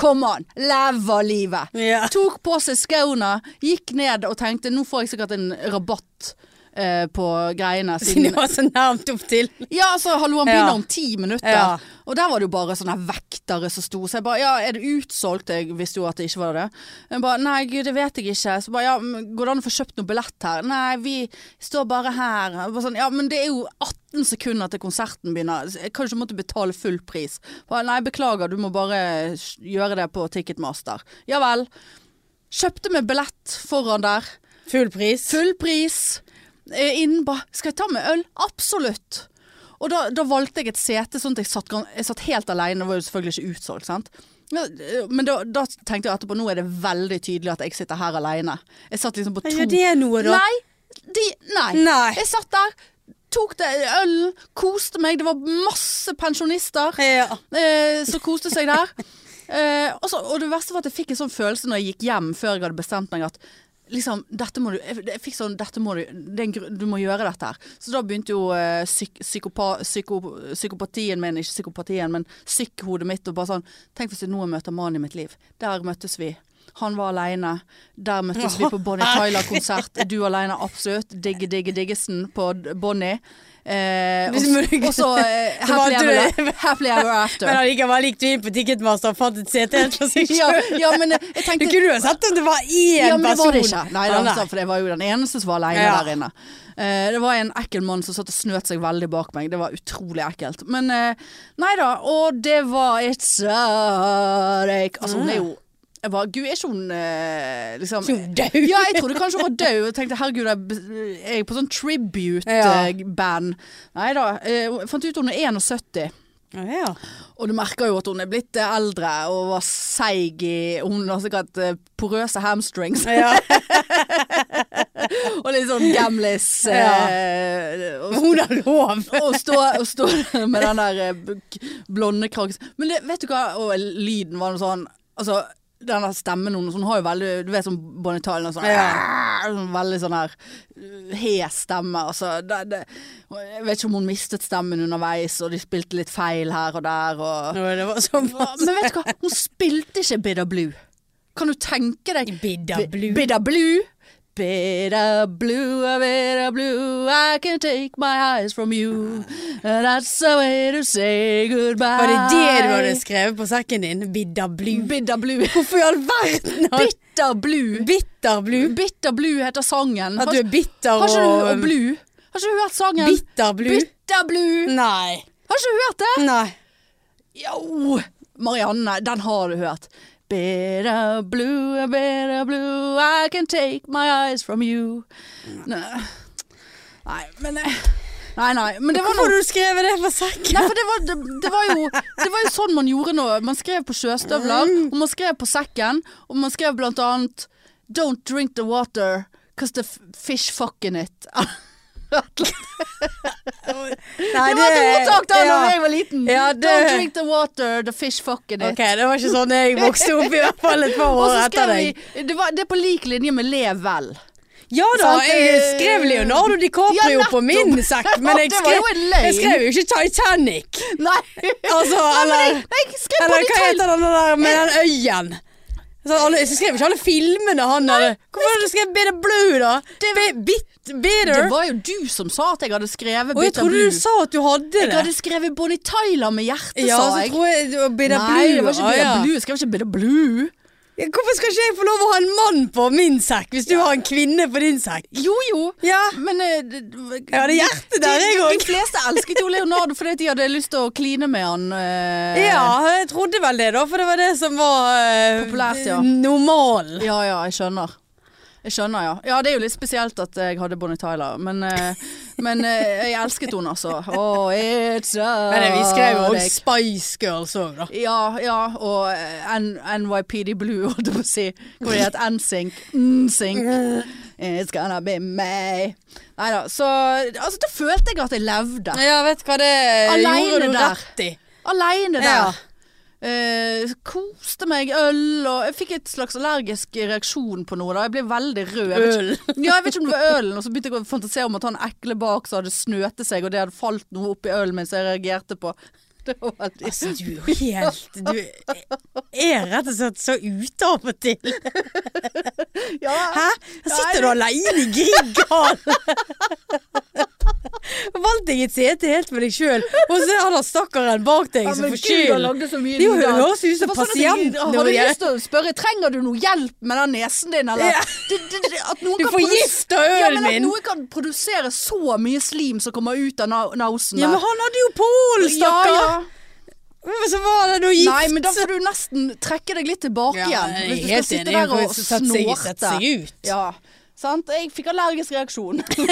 Speaker 1: Kom an, lev av livet.
Speaker 2: Ja.
Speaker 1: Tok på seg skoene, gikk ned og tenkte nå får jeg sikkert en rabatt eh, på greiene.
Speaker 2: Siden
Speaker 1: Siden,
Speaker 2: jeg var så nærmt opp til.
Speaker 1: ja, altså hallo, han begynner
Speaker 2: Ja.
Speaker 1: om ti minutter.
Speaker 2: Ja.
Speaker 1: Og der var det jo bare sånne vektere som sto. Så jeg bare ja, er det utsolgt? Jeg visste jo at det ikke var det. Jeg bare nei, gud, det vet jeg ikke. Så bare ja, men går det an å få kjøpt noe billett her? Nei, vi står bare her. Jeg Bare sånn, ja, men det er jo 18 sekunder til konserten begynner. Så Jeg kan jo ikke måtte betale full pris. Bare, nei, beklager, du må bare gjøre det på Ticketmaster. Ja vel. Kjøpte meg billett foran der.
Speaker 2: Full pris.
Speaker 1: Full pris. Eh, Innen bare Skal jeg ta med øl? Absolutt. Og da, da valgte jeg et sete, sånn at jeg satt, gan- jeg satt helt alene. Det var jo selvfølgelig ikke utsolgt, sant. Ja, eh, Men da, da tenkte jeg etterpå, nå er det veldig tydelig at jeg sitter her alene. Jeg satt liksom på to
Speaker 2: Gjør det noe, da?
Speaker 1: Nei! De, nei.
Speaker 2: Nei.
Speaker 1: Jeg satt der, tok det øl, koste meg. Det var masse pensjonister
Speaker 2: Ja.
Speaker 1: eh, som koste seg der. Eh, og, så, og det verste var at jeg fikk en sånn følelse når jeg gikk hjem før jeg hadde bestemt meg at liksom, dette må du, jeg, jeg fikk sånn, dette må du, det er en grunn- du må gjøre dette her. Så da begynte jo eh, psyk, psykopa, psyko, psykopatien min, ikke psykopatien, men psykhodet mitt og bare sånn, tenk hvis jeg nå møter mannen i mitt liv. Der møttes vi. Han var alene. Der møttes vi på Bonnie Tyler-konsert. Du alene, absolutt. Digge, digge, diggesen på Bonnie. Eh, og
Speaker 2: Hvis-
Speaker 1: og så eh,
Speaker 2: Så
Speaker 1: happy,
Speaker 2: valgte
Speaker 1: ever,
Speaker 2: du-
Speaker 1: happy ever after.
Speaker 2: Men allikevel gikk du inn på Ticketmaster og fant et sete helt for seg
Speaker 1: ja,
Speaker 2: sjøl.
Speaker 1: ja, men jeg jeg
Speaker 2: Du
Speaker 1: tenkte
Speaker 2: kunne jo ha sett om det var én
Speaker 1: ja, men det var
Speaker 2: person.
Speaker 1: det ikke. Nei, det
Speaker 2: Ah,
Speaker 1: var sant, for det var jo den eneste som var alene
Speaker 2: Ja.
Speaker 1: der inne. Eh, det var en ekkel mann som satt og snøt seg veldig bak meg. Det var utrolig ekkelt. Men eh, nei da. Og det var It's a heartache. Altså, hun er jo jeg bare, Gud, er ikke hun eh, liksom
Speaker 2: Jo, dau.
Speaker 1: Ja, jeg trodde kanskje hun var død. Jeg tenkte herregud, jeg be- er jeg på sånn
Speaker 2: Ja.
Speaker 1: tribute-band? Nei da. Jeg fant ut hun er 71.
Speaker 2: Ja, ja.
Speaker 1: Og du merker jo at hun er blitt eh, eldre og var seig i Hun har sikkert eh, porøse hamstrings
Speaker 2: Ja.
Speaker 1: og litt sånn gamlis. Eh, og,
Speaker 2: Hun har lov.
Speaker 1: og, stå, og stå med den der eh, b- blonde kragen. Men det, vet du hva, og lyden var noe sånn Altså, den der stemmen hennes, hun har jo veldig Du vet sånn Bonnie Tyler og sånn, sånn Veldig sånn her eh, hes stemme. Altså, det, det, jeg vet ikke om hun mistet stemmen underveis, og de spilte litt feil her og der, og
Speaker 2: Nå, det var sånn
Speaker 1: Ja, Men vet du hva, hun spilte ikke Bidda Blue. Kan du tenke deg
Speaker 2: Bidda blue.
Speaker 1: Bidda Blue? Bidda blue, bidda blue, I can take my eyes from you. That's the way to say goodbye.
Speaker 2: Var det det du hadde skrevet på sekken din? Bidda blue.
Speaker 1: Bidda blue.
Speaker 2: Hvorfor i all verden har
Speaker 1: Bitter blue.
Speaker 2: Bitter blue?
Speaker 1: Bitter blue heter sangen.
Speaker 2: At du er bitter
Speaker 1: har ikke du
Speaker 2: og um,
Speaker 1: og blue? Har ikke du hørt sangen?
Speaker 2: Bitter blue?
Speaker 1: Bitter blue.
Speaker 2: Nei.
Speaker 1: Har ikke du hørt det?
Speaker 2: Nei.
Speaker 1: Jo, Marianne, den har du hørt. Bitter blue, bitter blue, I can take my eyes from you. Nei. Nei, men eh, Nei, nei. Men det var
Speaker 2: Hvorfor
Speaker 1: noe
Speaker 2: har du skrevet det på sekken?
Speaker 1: Nei, for det var, det, det, var jo, det var jo sånn man gjorde nå. Man skrev på sjøstøvler, og man skrev på sekken, og man skrev blant annet Don't drink the water, cause the f- fish fuck in it.
Speaker 2: Nei,
Speaker 1: Det var et ordtak da
Speaker 2: ja.
Speaker 1: da jeg var liten.
Speaker 2: Ja, det-
Speaker 1: Don't drink the water, the fish fuck in it.
Speaker 2: Ok, det var ikke sånn jeg vokste opp i hvert fall et par
Speaker 1: Og
Speaker 2: år
Speaker 1: så
Speaker 2: etter
Speaker 1: skrev
Speaker 2: deg.
Speaker 1: vi det, var, det er på lik linje med Lev vel.
Speaker 2: Ja da,
Speaker 1: Sant,
Speaker 2: Sånn, jeg
Speaker 1: eh,
Speaker 2: skrev Leonardo DiCaprio
Speaker 1: ja,
Speaker 2: på min sekk, men jeg
Speaker 1: Det var jo
Speaker 2: skrev,
Speaker 1: en løgn.
Speaker 2: jeg skrev jo ikke Titanic.
Speaker 1: Nei.
Speaker 2: Altså,
Speaker 1: Nei,
Speaker 2: eller,
Speaker 1: jeg skrev på
Speaker 2: eller hva
Speaker 1: detalj.
Speaker 2: heter den der med den øyen? Så alle, jeg skrev ikke alle filmene han hadde. Hvorfor hadde du skrevet Bitter Blue, da? Bi- Bit, bitter?
Speaker 1: Det var jo du som sa at jeg hadde skrevet
Speaker 2: Og jeg
Speaker 1: Bitter
Speaker 2: trodde
Speaker 1: Blue.
Speaker 2: du sa at du hadde
Speaker 1: Jeg
Speaker 2: det.
Speaker 1: hadde skrevet Bonnie Tyler med hjerte,
Speaker 2: Ja,
Speaker 1: sa
Speaker 2: så
Speaker 1: jeg.
Speaker 2: tror jeg det var Bitter Blue.
Speaker 1: Nei, det var ikke
Speaker 2: Ah,
Speaker 1: Bitter
Speaker 2: ja.
Speaker 1: Blue. Jeg skrev ikke Bitter Blue.
Speaker 2: Ja, Hvorfor skal ikke jeg få lov å ha en mann på min sekk, hvis du har en kvinne på din sekk?
Speaker 1: Jo, jo.
Speaker 2: Ja.
Speaker 1: Men eh, det-
Speaker 2: Jeg hadde hjerte der, jeg
Speaker 1: de, de
Speaker 2: òg.
Speaker 1: fleste elsket jo Leonardo fordi at de hadde lyst til å kline med han. eh.
Speaker 2: Ja, jeg trodde vel det, da, for det var det som var eh,
Speaker 1: Populært, ja.
Speaker 2: normalen.
Speaker 1: ja, ja, jeg skjønner. Jeg skjønner, ja. Ja, Det er jo litt spesielt at jeg hadde Bonnie Tyler, men, eh, men eh, jeg elsket henne, altså. Oh, it's a
Speaker 2: Men vi skrev jo også
Speaker 1: day.
Speaker 2: Spice Girls òg, da.
Speaker 1: Ja, ja, og eh, N NYPD Blue, holdt jeg på å si. Hvor det het NSYNC. NSYNC. It's gonna be me. Nei da. Så altså, da følte jeg at jeg levde.
Speaker 2: Ja, vet du hva det
Speaker 1: Alene
Speaker 2: gjorde du
Speaker 1: der.
Speaker 2: rett i.
Speaker 1: Aleine der.
Speaker 2: Ja.
Speaker 1: Eh, koste meg øl og Jeg fikk et slags allergisk reaksjon på noe. da Jeg ble veldig rød. Jeg vet ikke-
Speaker 2: Øl.
Speaker 1: Ja, jeg vet ikke om det var ølen. Og så begynte jeg å fantasere om at han ekle bak som hadde snøte seg, og det hadde falt noe oppi ølen min som jeg reagerte på. Det var veldig
Speaker 2: Altså, du er jo helt Du er rett og slett så ute av og til.
Speaker 1: Ja.
Speaker 2: Hæ? Her sitter du aleine i Grieghallen. Valgte jeg et sete helt for deg sjøl, og så er han der stakkaren bak deg som får skyld. Det er jo- det høres ut som pasient
Speaker 1: Har
Speaker 2: når
Speaker 1: sånn du
Speaker 2: jeg-
Speaker 1: lyst til å spørre Trenger du noe hjelp med den nesen din, eller?
Speaker 2: Ja.
Speaker 1: Det- det- det- at noen
Speaker 2: Du
Speaker 1: kan produs-
Speaker 2: forgifter
Speaker 1: Ja,
Speaker 2: ølen
Speaker 1: men at
Speaker 2: min!
Speaker 1: noen kan produsere så mye slim som kommer ut av na- nausen
Speaker 2: Ja,
Speaker 1: der.
Speaker 2: men han hadde jo pol, stakkar! Men så var det noe gift.
Speaker 1: Nei, men da får du nesten trekke deg litt tilbake igjen.
Speaker 2: jeg er
Speaker 1: Hvis du skal
Speaker 2: helt
Speaker 1: sitte
Speaker 2: enig.
Speaker 1: der
Speaker 2: Hun
Speaker 1: og
Speaker 2: får sette seg- sette
Speaker 1: snorte.
Speaker 2: seg ut.
Speaker 1: Ja, sant? Jeg fikk allergisk reaksjon. jeg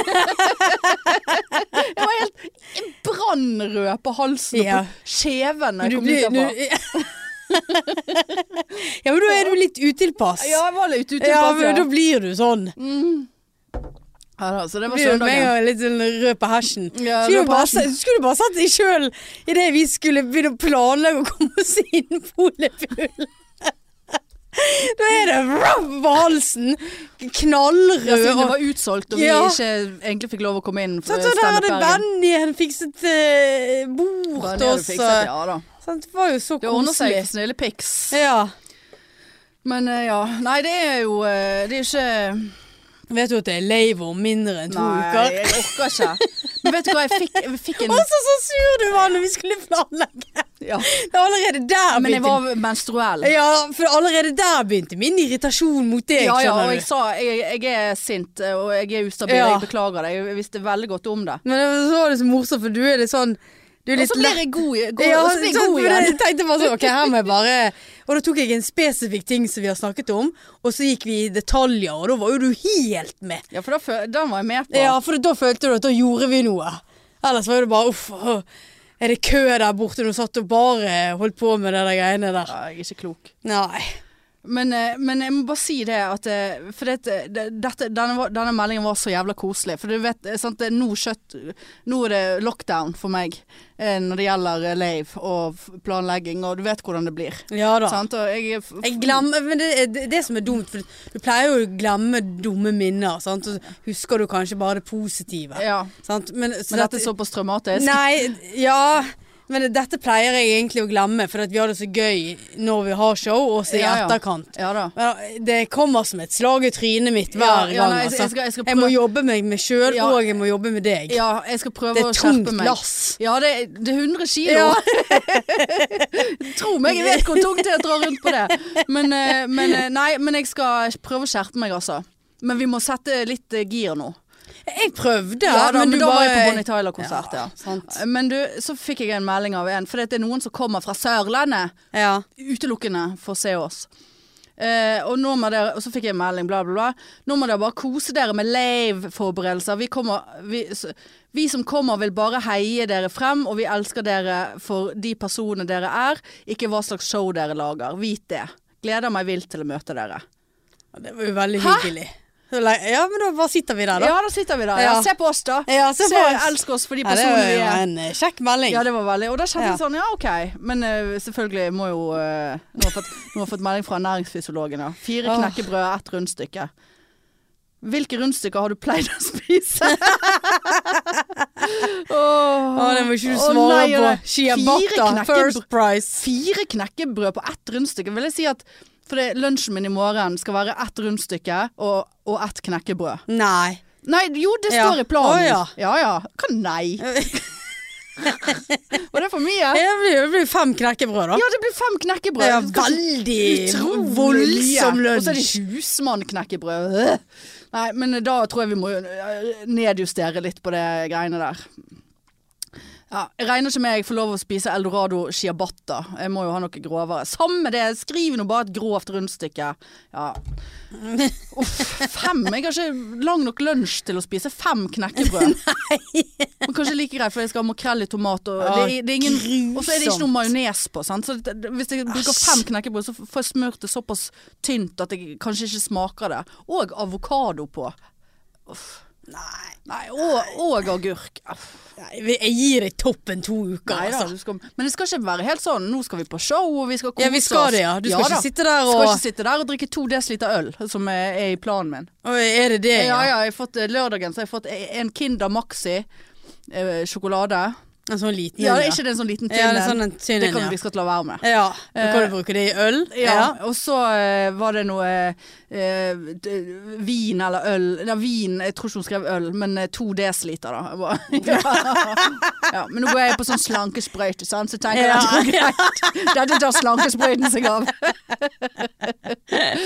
Speaker 1: var helt jeg brannrød på halsen
Speaker 2: Ja.
Speaker 1: og på kjeven når
Speaker 2: Men
Speaker 1: jeg
Speaker 2: du
Speaker 1: kom
Speaker 2: blir-
Speaker 1: ut derfra.
Speaker 2: du- ja, men da er du litt utilpass.
Speaker 1: Ja, jeg var litt ute i altså.
Speaker 2: Ja,
Speaker 1: passet.
Speaker 2: men da blir du sånn.
Speaker 1: Ja da, så altså, det var
Speaker 2: Blir du med en
Speaker 1: søndagen.
Speaker 2: gang litt sånn rød på hersen.
Speaker 1: Ja,
Speaker 2: skulle,
Speaker 1: rød
Speaker 2: du
Speaker 1: på
Speaker 2: bare,
Speaker 1: hersen.
Speaker 2: se- skulle du bare satt deg sjøl idet vi skulle begynne å planlegge å komme oss inn på Olefull. Da er det vroom på halsen.
Speaker 1: Ja,
Speaker 2: Knallrød.
Speaker 1: siden det
Speaker 2: og-
Speaker 1: var utsolgt og vi
Speaker 2: Ja.
Speaker 1: ikke egentlig fikk lov å komme inn. for
Speaker 2: Sånn, så der hadde
Speaker 1: stand-up Bergen.
Speaker 2: Benny han fikset eh, bord til
Speaker 1: Bergen hadde
Speaker 2: oss.
Speaker 1: fikset det,
Speaker 2: og-
Speaker 1: Ja da.
Speaker 2: Sant, Det var jo så
Speaker 1: Det ordner seg
Speaker 2: koselig.
Speaker 1: for snille pics.
Speaker 2: Ja.
Speaker 1: Men eh, ja. Nei, det er jo eh, Det er ikke
Speaker 2: Vet du at jeg er lei om mindre enn to
Speaker 1: Nei,
Speaker 2: uker?
Speaker 1: jeg orker ikke. Men vet du hva, jeg fikk, jeg fikk en
Speaker 2: Og så så sur du var når vi skulle planlegge!
Speaker 1: ja.
Speaker 2: Det var allerede der
Speaker 1: Men jeg
Speaker 2: begynte
Speaker 1: var menstruell.
Speaker 2: Ja, for allerede der begynte min irritasjon mot deg,
Speaker 1: Ja, ja, og
Speaker 2: skjønner
Speaker 1: jeg
Speaker 2: du.
Speaker 1: sa jeg, jeg er sint eh, og jeg er ustabil.
Speaker 2: Ja.
Speaker 1: Jeg beklager det. Jeg visste veldig godt om det.
Speaker 2: Men det var så morsomt, for du er litt sånn Du er
Speaker 1: Og
Speaker 2: litt
Speaker 1: så blir jeg god, i- god,
Speaker 2: Ja,
Speaker 1: og så blir jeg
Speaker 2: sant,
Speaker 1: god
Speaker 2: for
Speaker 1: igjen.
Speaker 2: Jeg tenkte bare sånn, ok, her må jeg bare Og da tok jeg en spesifikk ting som vi har snakket om, og så gikk vi i detaljer, og da var jo du helt med.
Speaker 1: Ja, for da, fø- den var jeg med på.
Speaker 2: Ja, for da følte du at da gjorde vi noe. Ellers var det bare uff. åh, Er det kø der borte? Du satt og bare holdt på med de der greiene der.
Speaker 1: Ja, Jeg er ikke klok.
Speaker 2: Nei.
Speaker 1: Men, eh, men jeg må bare si det at eh, For det, at, eh, det- dette, denne, var- denne meldingen var så jævla koselig. For du vet, eh, sant, det er nå kjøtt Nå er det lockdown for meg eh, når det gjelder eh, lave og f- planlegging, og du vet hvordan det blir.
Speaker 2: Ja da.
Speaker 1: Sant? Og jeg, er f-
Speaker 2: Jeg glemmer, men det, det, det som er dumt, for du pleier jo å glemme dumme minner. Sant? Og så husker du kanskje bare det positive.
Speaker 1: Ja.
Speaker 2: Sant? Men, så
Speaker 1: Men dette er såpass traumatisk.
Speaker 2: Nei, ja. Men dette pleier jeg egentlig å glemme, for at vi har det så gøy når vi har show, og så i
Speaker 1: Ja, ja.
Speaker 2: etterkant.
Speaker 1: Ja da.
Speaker 2: Men Det kommer som et slag i trynet mitt hver
Speaker 1: Ja, ja,
Speaker 2: gang.
Speaker 1: nei, jeg-
Speaker 2: altså.
Speaker 1: jeg skal- jeg skal
Speaker 2: må
Speaker 1: prøve-
Speaker 2: jobbe meg med sjøl,
Speaker 1: Ja.
Speaker 2: og jeg må jobbe med deg.
Speaker 1: Ja, jeg skal prøve
Speaker 2: Det
Speaker 1: å
Speaker 2: er
Speaker 1: skjerpe
Speaker 2: tungt
Speaker 1: meg.
Speaker 2: lass.
Speaker 1: Ja, det, er- det er 100 kilo.
Speaker 2: Ja.
Speaker 1: Tro meg, jeg vet hvor tungt det er å dra rundt på det. Men, eh, men, eh, nei, men jeg skal prøve å skjerpe meg, altså. Men vi må sette litt eh, gir nå.
Speaker 2: Jeg prøvde,
Speaker 1: Ja, da, men,
Speaker 2: men du
Speaker 1: da var
Speaker 2: bare
Speaker 1: jeg på Bonnie Tyler-konsert, ja.
Speaker 2: Ja, sant.
Speaker 1: Men du, så fikk jeg en melding av en, for det er noen som kommer fra Sørlandet
Speaker 2: Ja.
Speaker 1: utelukkende for å se oss. Eh, og, nå må dere, og så fikk jeg en melding, bla, bla, bla. Nå må dere bare kose dere med lave-forberedelser. Vi, kommer- vi, s- vi som kommer, vil bare heie dere frem, og vi elsker dere for de personene dere er, ikke hva slags show dere lager. Vit det. Gleder meg vilt til å møte dere.
Speaker 2: Ja, Det var jo veldig
Speaker 1: Hæ?
Speaker 2: hyggelig. Så le- Ja, men da bare sitter vi der, da.
Speaker 1: Ja, da sitter vi der. Ja.
Speaker 2: Ja.
Speaker 1: Se på oss, da.
Speaker 2: Ja, se på oss.
Speaker 1: Elsk oss for de
Speaker 2: Ja, det var
Speaker 1: personene vi
Speaker 2: jo
Speaker 1: er.
Speaker 2: en eh, kjekk melding.
Speaker 1: Ja, det var veldig. Og da kjente
Speaker 2: Ja.
Speaker 1: jeg sånn, ja OK. Men eh, selvfølgelig må jo eh, nå, har jeg fått, nå har jeg fått melding fra ernæringsfysiologen, ja. Fire
Speaker 2: Åh.
Speaker 1: knekkebrød, ett rundstykke. Hvilke rundstykker har du pleid å spise? Åh.
Speaker 2: Å, det må ikke du
Speaker 1: Å,
Speaker 2: svare
Speaker 1: nei,
Speaker 2: på.
Speaker 1: nei. Fire
Speaker 2: Shiabata,
Speaker 1: knekkebrød-
Speaker 2: first price.
Speaker 1: Fire knekkebrød på ett rundstykke. Vil jeg si at for det, lunsjen min i morgen skal være ett rundstykke og, og ett knekkebrød.
Speaker 2: Nei.
Speaker 1: Nei, jo, det
Speaker 2: Ja.
Speaker 1: står i
Speaker 2: Å,
Speaker 1: planen.
Speaker 2: ja.
Speaker 1: ja ja. Hva nei? Var det for mye?
Speaker 2: Det blir det blir fem knekkebrød, da.
Speaker 1: Ja, det blir fem knekkebrød.
Speaker 2: Det er
Speaker 1: Du skal ikke-
Speaker 2: veldig
Speaker 1: Utrolig
Speaker 2: voldsom
Speaker 1: mye. Og så er det
Speaker 2: lunsj.
Speaker 1: husmannknekkebrød. Øh. Nei, men da tror jeg vi må øh, nedjustere litt på det greiene der. Ja, jeg regner ikke med jeg får lov å spise eldorado ciabatta. Jeg må jo ha noe grovere. Samme det, skriv nå bare et grovt rundstykke. Ja. Uff, fem? Jeg har ikke lang nok lunsj til å spise fem knekkebrød. Men kanskje like greit, for jeg skal ha makrell i tomat. Og,
Speaker 2: Ja,
Speaker 1: det, er- det er ingen, og så er det
Speaker 2: grusomt.
Speaker 1: ikke noe majones på. Sant? Så det, det- hvis jeg bruker
Speaker 2: Æsj.
Speaker 1: fem knekkebrød, så får jeg smurt det såpass tynt at jeg kanskje ikke smaker det. Og avokado på.
Speaker 2: Nei.
Speaker 1: Nei, og, og agurk. Uff.
Speaker 2: Nei, vi- Jeg gir deg toppen to uker,
Speaker 1: Nei da,
Speaker 2: altså.
Speaker 1: du skal, men det skal ikke være helt sånn. Nå skal vi på show, og vi skal kose
Speaker 2: Ja, vi skal
Speaker 1: oss.
Speaker 2: det, ja. Du skal
Speaker 1: da.
Speaker 2: ikke sitte der
Speaker 1: Skal
Speaker 2: og
Speaker 1: ikke sitte der og drikke to desiliter øl, som er, er i planen min.
Speaker 2: Oi, Er det det,
Speaker 1: Ja, ja, jeg har fått eh, lørdagen, så har jeg fått eh, en Kinder Maxi eh, sjokolade.
Speaker 2: En sånn liten
Speaker 1: Ja,
Speaker 2: en,
Speaker 1: det er ikke det en sånn liten tynn
Speaker 2: Ja, det er
Speaker 1: en?
Speaker 2: sånn en tynn
Speaker 1: Det
Speaker 2: en,
Speaker 1: kan
Speaker 2: ja.
Speaker 1: vi skal la være med.
Speaker 2: Ja. Da kan du bruke det i øl.
Speaker 1: Eh, Ja, og så eh, var det noe eh, d- vin eller øl Nei, vin, jeg tror ikke hun skrev øl, men eh, to desiliter, da. Jeg bare- ja, men nå går jeg på sånn slankesprøyte, sant, så tenker jeg
Speaker 2: Ja.
Speaker 1: at det er greit. Dette tar slankesprøyten seg av.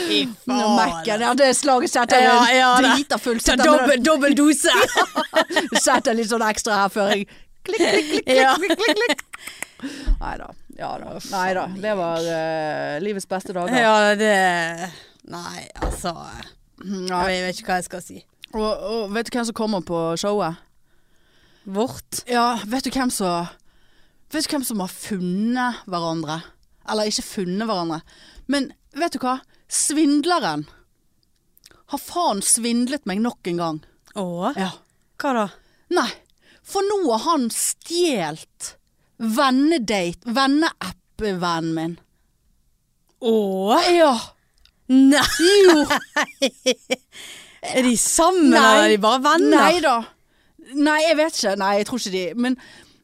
Speaker 2: Fy
Speaker 1: Nå
Speaker 2: faen. altså.
Speaker 1: mekker jeg. Ja, det slaget setter jeg
Speaker 2: Ja, ja, da.
Speaker 1: drita fullt.
Speaker 2: Ta
Speaker 1: Setter,
Speaker 2: dobbel, dobbel dose.
Speaker 1: meg- setter litt sånn ekstra her før jeg Klikk, klikk, klikk, klikk,
Speaker 2: Ja.
Speaker 1: klikk, klikk, klikk. Nei da. Ja da. Nei da. Det var eh, livets beste dager.
Speaker 2: ja, det Nei, altså
Speaker 1: Nei.
Speaker 2: Jeg vet ikke hva jeg skal si.
Speaker 1: Og, og vet du hvem som kommer på showet?
Speaker 2: Vårt?
Speaker 1: Ja, vet du hvem som Vet du hvem som har funnet hverandre? Eller ikke funnet hverandre, men vet du hva? Svindleren har faen svindlet meg nok en gang.
Speaker 2: Å?
Speaker 1: Ja.
Speaker 2: Hva da?
Speaker 1: Nei, for nå har han stjålet vennedate, venneapp-vennen min.
Speaker 2: Å?
Speaker 1: Ja.
Speaker 2: Nei!
Speaker 1: Jo.
Speaker 2: Er de sammen,
Speaker 1: Nei.
Speaker 2: eller er de bare venner?
Speaker 1: Nei da. Nei, jeg vet ikke. Nei, jeg tror ikke de Men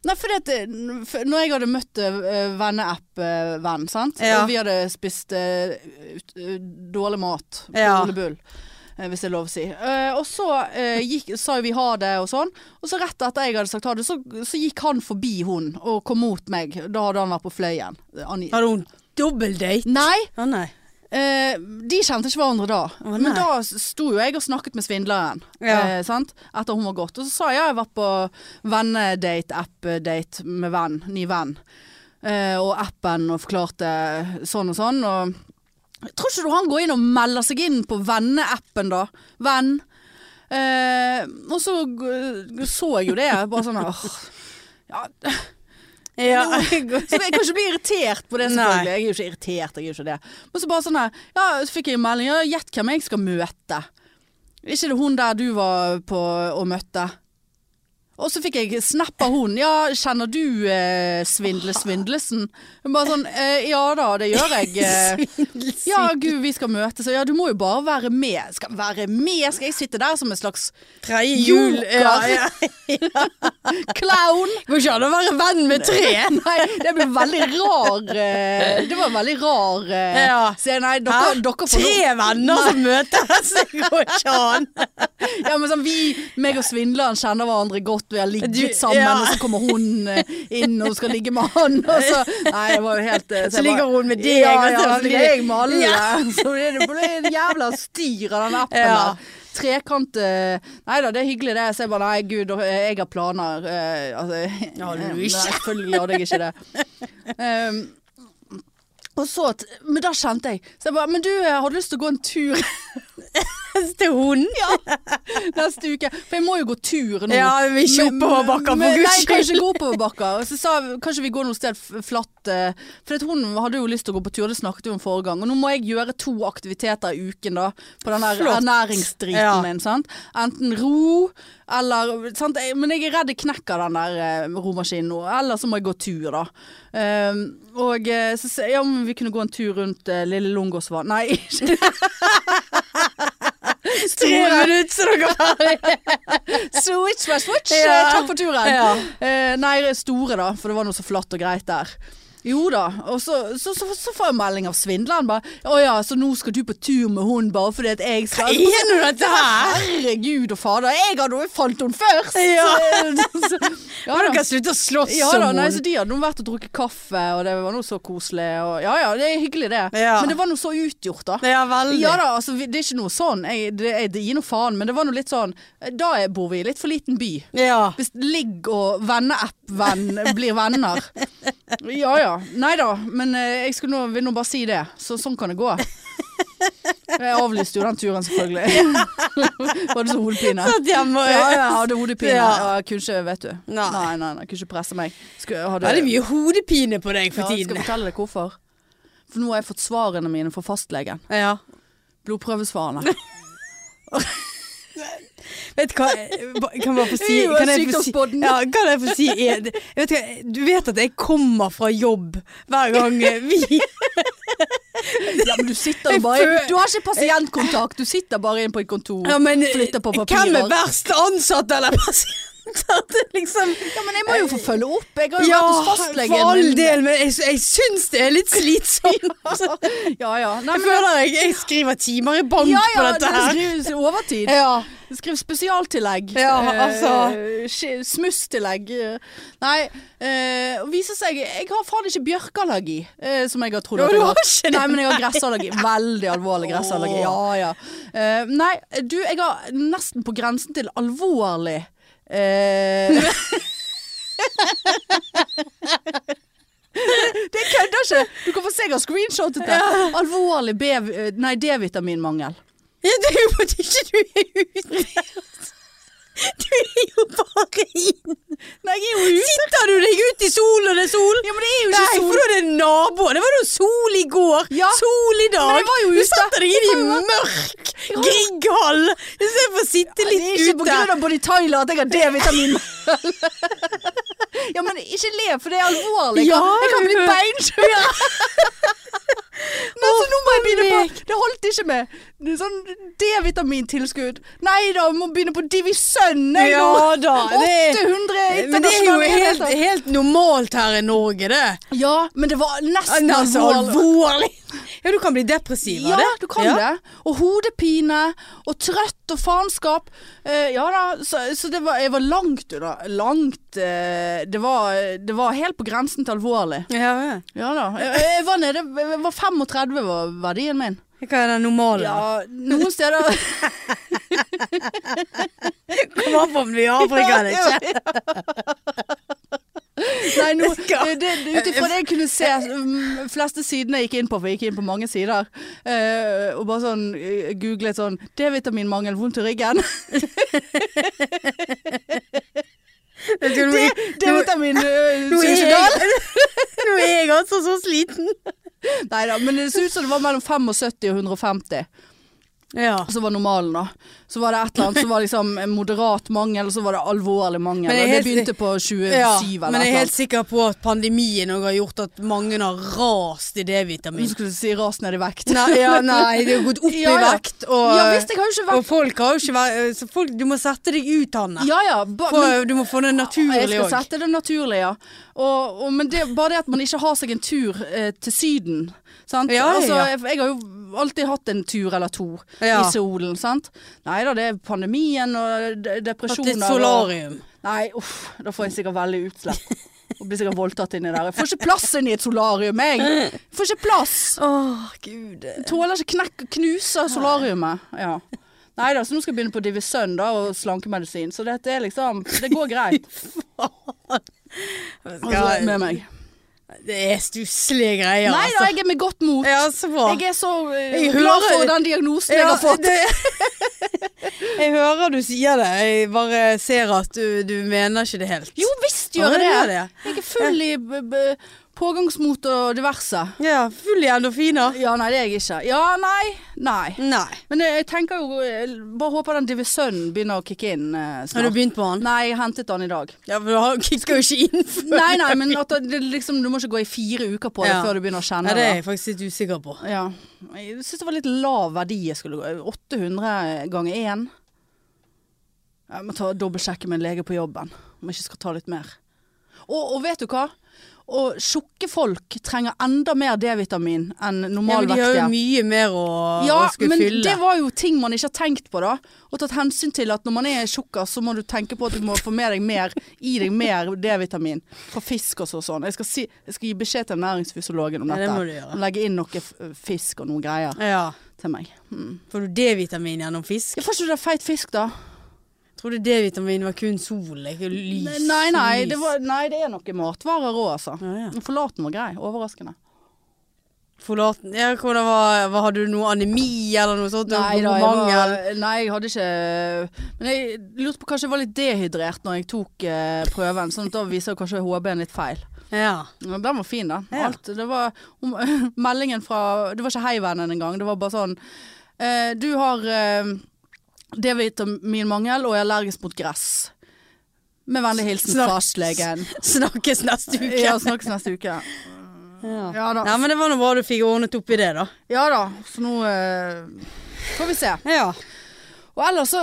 Speaker 1: Nei, fordi at eh, n- f- Når jeg hadde møtt eh, venneapp-venn, sant,
Speaker 2: Ja.
Speaker 1: og vi hadde spist eh, ut- eh, dårlig mat på
Speaker 2: Ja.
Speaker 1: Ole Bull, eh, hvis det er lov å si. Eh, og så eh, gikk, sa jo vi ha det og sånn, og så rett etter jeg hadde sagt ha det, så, så gikk han forbi hun og kom mot meg. Da hadde han vært på Fløyen. Han,
Speaker 2: Hadde hun dobbeldate?
Speaker 1: nei,
Speaker 2: Å nei.
Speaker 1: Eh, de kjente ikke hverandre da.
Speaker 2: Å, nei.
Speaker 1: men da s- sto jo jeg og snakket med svindleren
Speaker 2: Ja.
Speaker 1: eh, sant? etter hun var gått. Og så sa jeg jeg var på vennedate, app-date med venn, ny venn. Eh, og appen og forklarte sånn og sånn. Og jeg tror ikke du han går inn og melder seg inn på venneappen, da? Venn. Eh, og så g- så jeg jo det. Bare sånn åh. ja,
Speaker 2: Ja.
Speaker 1: så jeg kan ikke bli irritert på det,
Speaker 2: Nei.
Speaker 1: selvfølgelig. Jeg er jo ikke irritert, jeg er jo ikke det. Men så bare sånn her, ja, så fikk jeg en melding. Ja, gjett hvem jeg skal møte. Er ikke det hun der du var på og møtte? Og så fikk jeg snap av hun. Ja, kjenner du eh, Svindle Svindlesen? Hun Bare sånn, eh, ja da, det gjør jeg. Eh.
Speaker 2: Svindelsyn.
Speaker 1: Ja, gud, vi skal møtes. Ja, du må jo bare være med. Skal være med? Skal jeg sitte der som en slags
Speaker 2: Tredje jul.
Speaker 1: Joker.
Speaker 2: ja.
Speaker 1: clown?
Speaker 2: Går ikke an å være venn med tre.
Speaker 1: Nei, det ble veldig rar eh, Det var veldig rar eh,
Speaker 2: Ja.
Speaker 1: Se, nei, dere,
Speaker 2: Hæ?
Speaker 1: dere får
Speaker 2: Tre venner som møtes, det går ikke an.
Speaker 1: noe ja, men sånn, Vi, meg og svindleren kjenner hverandre godt Vi har ligget
Speaker 2: Du-
Speaker 1: sammen
Speaker 2: ja.
Speaker 1: Og så kommer hun eh, inn og skal ligge med han og så, Nei, det var jo helt eh,
Speaker 2: Så ligger hun med deg,
Speaker 1: Ja,
Speaker 2: og så
Speaker 1: ja, så
Speaker 2: ligger-
Speaker 1: ligger jeg med alle
Speaker 2: Ja.
Speaker 1: Så det det ble en jævla styr av den appen
Speaker 2: Ja.
Speaker 1: der Trekant eh, Neida, det er hyggelig det Så jeg bare, nei gud, eh, jeg har planer eh, altså,
Speaker 2: Har du
Speaker 1: Nei,
Speaker 2: ikke?
Speaker 1: Selvfølgelig hadde jeg ikke det um, Ehm, Og så, t- men da kjente jeg Så jeg bare Men du, jeg hadde lyst til å gå en tur
Speaker 2: Til hunden?
Speaker 1: neste uke. For jeg må jo gå tur nå.
Speaker 2: Ja, men ikke
Speaker 1: Men-
Speaker 2: oppoverbakker, for
Speaker 1: men-
Speaker 2: Guds
Speaker 1: Nei, kan
Speaker 2: skyld.
Speaker 1: ikke gå oppoverbakker. Så sa jeg, kanskje vi går noe sted f- flatt. eh, For at hun hadde jo lyst til å gå på tur, det snakket vi om forrige gang. Og nå må jeg gjøre to aktiviteter i uken da, på den der
Speaker 2: Flott.
Speaker 1: ernæringsdriten
Speaker 2: Ja.
Speaker 1: min. Sant? Enten ro, eller sant? Jeg- Men jeg er redd jeg knekker den der eh, romaskinen nå. Eller så må jeg gå tur, da. Ehm, og eh, så sa jeg, ja, men vi kunne gå en tur rundt eh, Lille Lungåsvann. Nei, ikke
Speaker 2: Tre minutter, så dere er ferdige.
Speaker 1: Switch, switch, switch.
Speaker 2: Ja.
Speaker 1: Eh, Takk for turen.
Speaker 2: Ja.
Speaker 1: Eh, nei, det er store da, for det var noe så flatt og greit der. Jo da, og så, så, så, så får jeg melding av svindleren bare. Å ja, så nå skal du på tur med hun bare fordi at jeg skal Altså,
Speaker 2: Er nå dette her?
Speaker 1: Herregud og fader, jeg hadde jo fant hun først!
Speaker 2: Ja.
Speaker 1: Så, ja
Speaker 2: Dere
Speaker 1: da.
Speaker 2: kan slutte å slåss
Speaker 1: Ja
Speaker 2: om
Speaker 1: da, nei, så
Speaker 2: henne.
Speaker 1: De hadde nå vært og drukket kaffe, og det var noe så koselig. Og, ja ja, det er hyggelig det.
Speaker 2: Ja.
Speaker 1: Men det var noe så utgjort, da.
Speaker 2: Ja, veldig.
Speaker 1: Ja da, altså, vi- det er ikke noe sånn. Jeg, det, jeg, det gir noe faen, men det var noe litt sånn Da er- bor vi i litt for liten by.
Speaker 2: Ja.
Speaker 1: Hvis ligg og venneapp-venn blir venner. Ja ja. Nei da, men eh, jeg skulle nå, vil nå bare si det. Så sånn kan det gå. Jeg avlyste jo den turen, selvfølgelig. Var det så hodepine?
Speaker 2: Satt hjemme og
Speaker 1: Ja, jeg hadde hodepine.
Speaker 2: Ja.
Speaker 1: Ja, jeg kunne ikke, vet du.
Speaker 2: Nei.
Speaker 1: nei, nei, nei kunne ikke presse meg. Skulle, jeg hadde,
Speaker 2: Veldig mye hodepine på deg for
Speaker 1: ja, jeg skal
Speaker 2: tiden.
Speaker 1: fortelle deg hvorfor. For nå har jeg fått svarene mine fra fastlegen.
Speaker 2: Ja.
Speaker 1: Blodprøvesvarene.
Speaker 2: Vet du hva, ba- kan, bare få si,
Speaker 1: Jo,
Speaker 2: kan, jeg få si,
Speaker 1: sykdomspodden.
Speaker 2: ja, kan jeg få si en- jeg vet hva, Du vet at jeg kommer fra jobb hver gang vi
Speaker 1: Ja, men du sitter
Speaker 2: Jeg
Speaker 1: jo bare
Speaker 2: føl-
Speaker 1: Du har ikke pasientkontakt, du sitter bare inne på et kontor.
Speaker 2: ja, men,
Speaker 1: Flytter på
Speaker 2: Hvem er
Speaker 1: papirer.
Speaker 2: verst ansatt eller pasienter? Det er liksom
Speaker 1: Ja, men jeg må jo få følge opp. Jeg har jo
Speaker 2: Ja,
Speaker 1: vært hos
Speaker 2: for
Speaker 1: fastlegen.
Speaker 2: all del, men jeg, jeg syns det er litt slitsomt.
Speaker 1: Ja, ja. Nei,
Speaker 2: Jeg
Speaker 1: men,
Speaker 2: føler jeg, jeg skriver timer i bank
Speaker 1: ja,
Speaker 2: på
Speaker 1: ja,
Speaker 2: dette
Speaker 1: det
Speaker 2: her.
Speaker 1: skrives overtid.
Speaker 2: Ja.
Speaker 1: Skriv spesialtillegg.
Speaker 2: Ja, altså.
Speaker 1: Eh, sk- Smusstillegg. eh. Nei, eh, og viser seg Jeg har faen ikke bjørkeallergi, eh, som jeg har trodd
Speaker 2: Jo,
Speaker 1: at
Speaker 2: du
Speaker 1: jeg
Speaker 2: har
Speaker 1: har.
Speaker 2: ikke det.
Speaker 1: Nei, men jeg har gressallergi. Veldig alvorlig gressallergi. Ja, ja. Eh, nei, du, jeg har nesten på grensen til alvorlig eh, Det kødder ikke! Du kan få se jeg har screenshotet det. Alvorlig B- eh, nei, D-vitaminmangel.
Speaker 2: Ja, det er jo fordi ikke du er utlært. Du er jo bare inn.
Speaker 1: Nei, jeg er jo ute.
Speaker 2: Sitter du deg ut i sol og det er sol?
Speaker 1: Ja, men det er jo
Speaker 2: Nei,
Speaker 1: ikke sol.
Speaker 2: for da er det naboer. Det var jo sol i går,
Speaker 1: Ja,
Speaker 2: sol i dag.
Speaker 1: men jeg var jo
Speaker 2: du
Speaker 1: ute.
Speaker 2: satte deg inn
Speaker 1: Jeg
Speaker 2: i
Speaker 1: var jo
Speaker 2: mørk Grieghall istedenfor å sitte
Speaker 1: Det er
Speaker 2: litt
Speaker 1: ikke på
Speaker 2: ute.
Speaker 1: grunn av Bonnie Tyler at jeg har D-vitamin. ja, men ikke le, for det er alvorlig. Jeg
Speaker 2: Ja,
Speaker 1: kan, jeg kan bli
Speaker 2: du-
Speaker 1: beinskjør. Nei, så nå må jeg begynne
Speaker 2: meg.
Speaker 1: på Det holdt ikke med Det er sånn D-vitamintilskudd. Nei da, må begynne på Divisønn. jeg
Speaker 2: Ja
Speaker 1: nå.
Speaker 2: da. Det,
Speaker 1: 800
Speaker 2: men det er jo
Speaker 1: internasjonale
Speaker 2: helt,
Speaker 1: enheter.
Speaker 2: helt normalt her i Norge, det.
Speaker 1: Ja, men det var nesten
Speaker 2: Altså,
Speaker 1: alvorlig.
Speaker 2: alvorlig. Ja, du kan bli depressiv av
Speaker 1: Ja,
Speaker 2: det.
Speaker 1: du kan
Speaker 2: Ja.
Speaker 1: det. Og hodepine, og trøtt og faenskap. Eh, ja da, så, så det var, jeg var langt unna. Langt eh, det, var, det var helt på grensen til alvorlig.
Speaker 2: Ja, ja.
Speaker 1: Ja da. Jeg, jeg var nede jeg var 35 var verdien min.
Speaker 2: Hva er den normale?
Speaker 1: Ja, noen steder
Speaker 2: Kom an på om du er i Afrika eller ikke.
Speaker 1: Nei, nå,
Speaker 2: Skal-
Speaker 1: det, det, ut ifra det jeg kunne se mm, fleste sidene jeg gikk inn på, for jeg gikk inn på mange sider, eh, og bare sånn eh, googlet sånn D-vitaminmangel, vondt i ryggen.
Speaker 2: Jeg tror nå- nå-
Speaker 1: D-vitamin, eh,
Speaker 2: nå er jeg-
Speaker 1: suicidal.
Speaker 2: Nå er jeg altså så sliten.
Speaker 1: Nei da, men det så ut som det var mellom 75 og 150
Speaker 2: Ja.
Speaker 1: som var normalen. da Så var det et eller annet som var liksom en moderat mangel, og så var det alvorlig mangel.
Speaker 2: Men jeg er
Speaker 1: Og det
Speaker 2: helt-
Speaker 1: begynte på 27 eller
Speaker 2: men jeg er
Speaker 1: noe
Speaker 2: helt
Speaker 1: sånt.
Speaker 2: sikker på at pandemien også har gjort at mange har rast i
Speaker 1: Du
Speaker 2: D-vitamin.
Speaker 1: skulle si ras ned i vekt.
Speaker 2: Nei, ja, nei, det har gått opp
Speaker 1: Ja,
Speaker 2: i
Speaker 1: ja.
Speaker 2: vekt, og,
Speaker 1: ja visst, jeg har jo ikke
Speaker 2: og
Speaker 1: vært
Speaker 2: folk har jo ikke vært så folk, Du må sette deg ut, Hanne.
Speaker 1: Ja ja. Ba,
Speaker 2: Få-
Speaker 1: men,
Speaker 2: du må få det
Speaker 1: jeg
Speaker 2: naturlig
Speaker 1: skal
Speaker 2: òg.
Speaker 1: sette det naturlig, ja. Og, og, men det, bare det at man ikke har seg en tur eh, til Syden. Sant?
Speaker 2: Ja, ja,
Speaker 1: altså,
Speaker 2: ja.
Speaker 1: jeg, jeg har jo alltid hatt en tur eller to
Speaker 2: Ja.
Speaker 1: i solen. Sant? Nei da, det er pandemien og de-
Speaker 2: At
Speaker 1: depresjoner.
Speaker 2: det er
Speaker 1: og-
Speaker 2: solarium.
Speaker 1: Nei, uff, da får jeg sikkert veldig utslett. Og blir sikkert voldtatt inni der. Jeg får ikke plass inni et solarium, jeg. Får ikke plass.
Speaker 2: Åh, gud.
Speaker 1: Tåler ikke knekk knuse av solariumet. Ja. Nei da, så nå skal jeg begynne på Divisønn da, og slankemedisin. Så dette er liksom Det går greit.
Speaker 2: Faen.
Speaker 1: Altså, med meg.
Speaker 2: Det er stusslige greier,
Speaker 1: Nei da,
Speaker 2: altså.
Speaker 1: jeg er med godt mot.
Speaker 2: Ja, så bra.
Speaker 1: Jeg er så eh,
Speaker 2: Jeg
Speaker 1: glad
Speaker 2: hører-
Speaker 1: for den diagnosen jeg har fått.
Speaker 2: jeg hører du sier det, jeg bare ser at du, du mener ikke det helt.
Speaker 1: Jo visst
Speaker 2: Ja,
Speaker 1: gjør jeg
Speaker 2: gjør
Speaker 1: det.
Speaker 2: det.
Speaker 1: Jeg er full i b b pågangsmot og diverse.
Speaker 2: Ja, full i endorfiner.
Speaker 1: Ja, nei, det er jeg ikke. Ja, nei. Nei.
Speaker 2: Nei.
Speaker 1: Men eh, jeg, jeg tenker jo jeg Bare håper den divisønnen begynner å kicke inn eh,
Speaker 2: Har du
Speaker 1: snart.
Speaker 2: begynt på den?
Speaker 1: Nei, jeg hentet den i dag.
Speaker 2: Ja, for du har- skal jo ikke inn før.
Speaker 1: Nei, nei, men at det, liksom, du må ikke gå i fire uker på det
Speaker 2: Ja.
Speaker 1: før du begynner å kjenne
Speaker 2: Ja, det er jeg faktisk litt usikker på.
Speaker 1: Ja. Jeg syns det var litt lav verdi jeg skulle gå. 800 ganger 1. Jeg må ta dobbeltsjekke med en lege på jobben om jeg ikke skal ta litt mer. Og, og vet du hva? Og tjukke folk trenger enda mer D-vitamin enn
Speaker 2: Ja, men de har
Speaker 1: normalvektige.
Speaker 2: jo mye mer å,
Speaker 1: Ja,
Speaker 2: å skulle
Speaker 1: men
Speaker 2: fylle.
Speaker 1: det var jo ting man ikke har tenkt på da. Og tatt hensyn til at når man er tjukkas, så må du tenke på at du må få med deg mer, i deg mer D-vitamin fra fisk og så- sånn. Jeg skal, si, jeg skal gi beskjed til næringsfysiologen om
Speaker 2: Ja,
Speaker 1: dette.
Speaker 2: det må du gjøre.
Speaker 1: Legge inn noe f- fisk og noe greier
Speaker 2: Ja.
Speaker 1: til meg. Mm.
Speaker 2: Får du D-vitamin gjennom fisk?
Speaker 1: Jeg får ikke det feit fisk da.
Speaker 2: Jeg trodde D-vitamin var kun sol, ikke lys.
Speaker 1: Nei, nei,
Speaker 2: lys.
Speaker 1: det, var, nei det er noe matvarer òg, altså.
Speaker 2: Ja, ja.
Speaker 1: Forlaten var grei. Overraskende.
Speaker 2: Forlaten Ja, hvordan var, var Hadde du noe anemi eller noe sånt?
Speaker 1: Nei da, jeg,
Speaker 2: Mangel?
Speaker 1: var, nei, jeg hadde ikke Men jeg lurte på kanskje jeg var litt dehydrert når jeg tok eh, prøven, sånn at da viser jo kanskje HB-en litt feil.
Speaker 2: Ja.
Speaker 1: Ja, den var fin, den.
Speaker 2: Ja.
Speaker 1: Alt. Det var om- meldingen fra Det var ikke Heivennen engang. Det var bare sånn eh, Du har eh, D-vitaminmangel og er allergisk mot gress. Med vennlig hilsen
Speaker 2: Snakk-
Speaker 1: fastlegen.
Speaker 2: Snakkes neste uke.
Speaker 1: Ja, snakkes neste uke.
Speaker 2: Ja.
Speaker 1: Ja da.
Speaker 2: Nei, men det var nå bra du fikk ordnet opp i det, da.
Speaker 1: Ja da. Så nå eh, får vi se.
Speaker 2: Ja.
Speaker 1: Og ellers så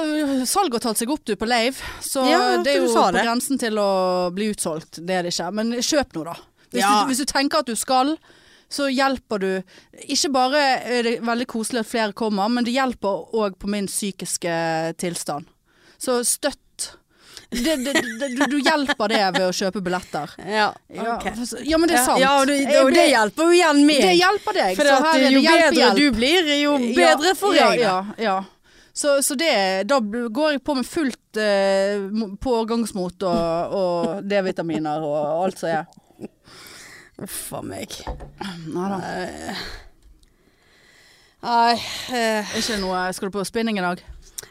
Speaker 1: salget har tatt seg opp du på Leiv, så
Speaker 2: Ja,
Speaker 1: det er
Speaker 2: du
Speaker 1: jo
Speaker 2: sa
Speaker 1: på
Speaker 2: det.
Speaker 1: grensen til å bli utsolgt. Det er det ikke. Men kjøp nå, da. Hvis,
Speaker 2: Ja.
Speaker 1: du, hvis du tenker at du skal, så hjelper du. Ikke bare er det veldig koselig at flere kommer, men det hjelper òg på min psykiske tilstand. Så støtt. Det, det, det, du, du hjelper det ved å kjøpe billetter.
Speaker 2: Ja,
Speaker 1: Ja,
Speaker 2: ok.
Speaker 1: for- ja men det er sant.
Speaker 2: Ja, og det,
Speaker 1: Jeg
Speaker 2: og det
Speaker 1: ble-
Speaker 2: hjelper jo igjen meg.
Speaker 1: det hjelper deg.
Speaker 2: For
Speaker 1: så
Speaker 2: at
Speaker 1: her er
Speaker 2: jo
Speaker 1: det hjelp,
Speaker 2: bedre
Speaker 1: hjelp.
Speaker 2: du blir, jo bedre for
Speaker 1: ja,
Speaker 2: jeg. da.
Speaker 1: Ja, ja. Så, så det, da bl- går jeg på med fullt eh, mo- pågangsmot og, og D-vitaminer og alt som er.
Speaker 2: Uff a meg.
Speaker 1: Nei da.
Speaker 2: Nei, eh,
Speaker 1: Ikke noe, skal du på spinning i dag?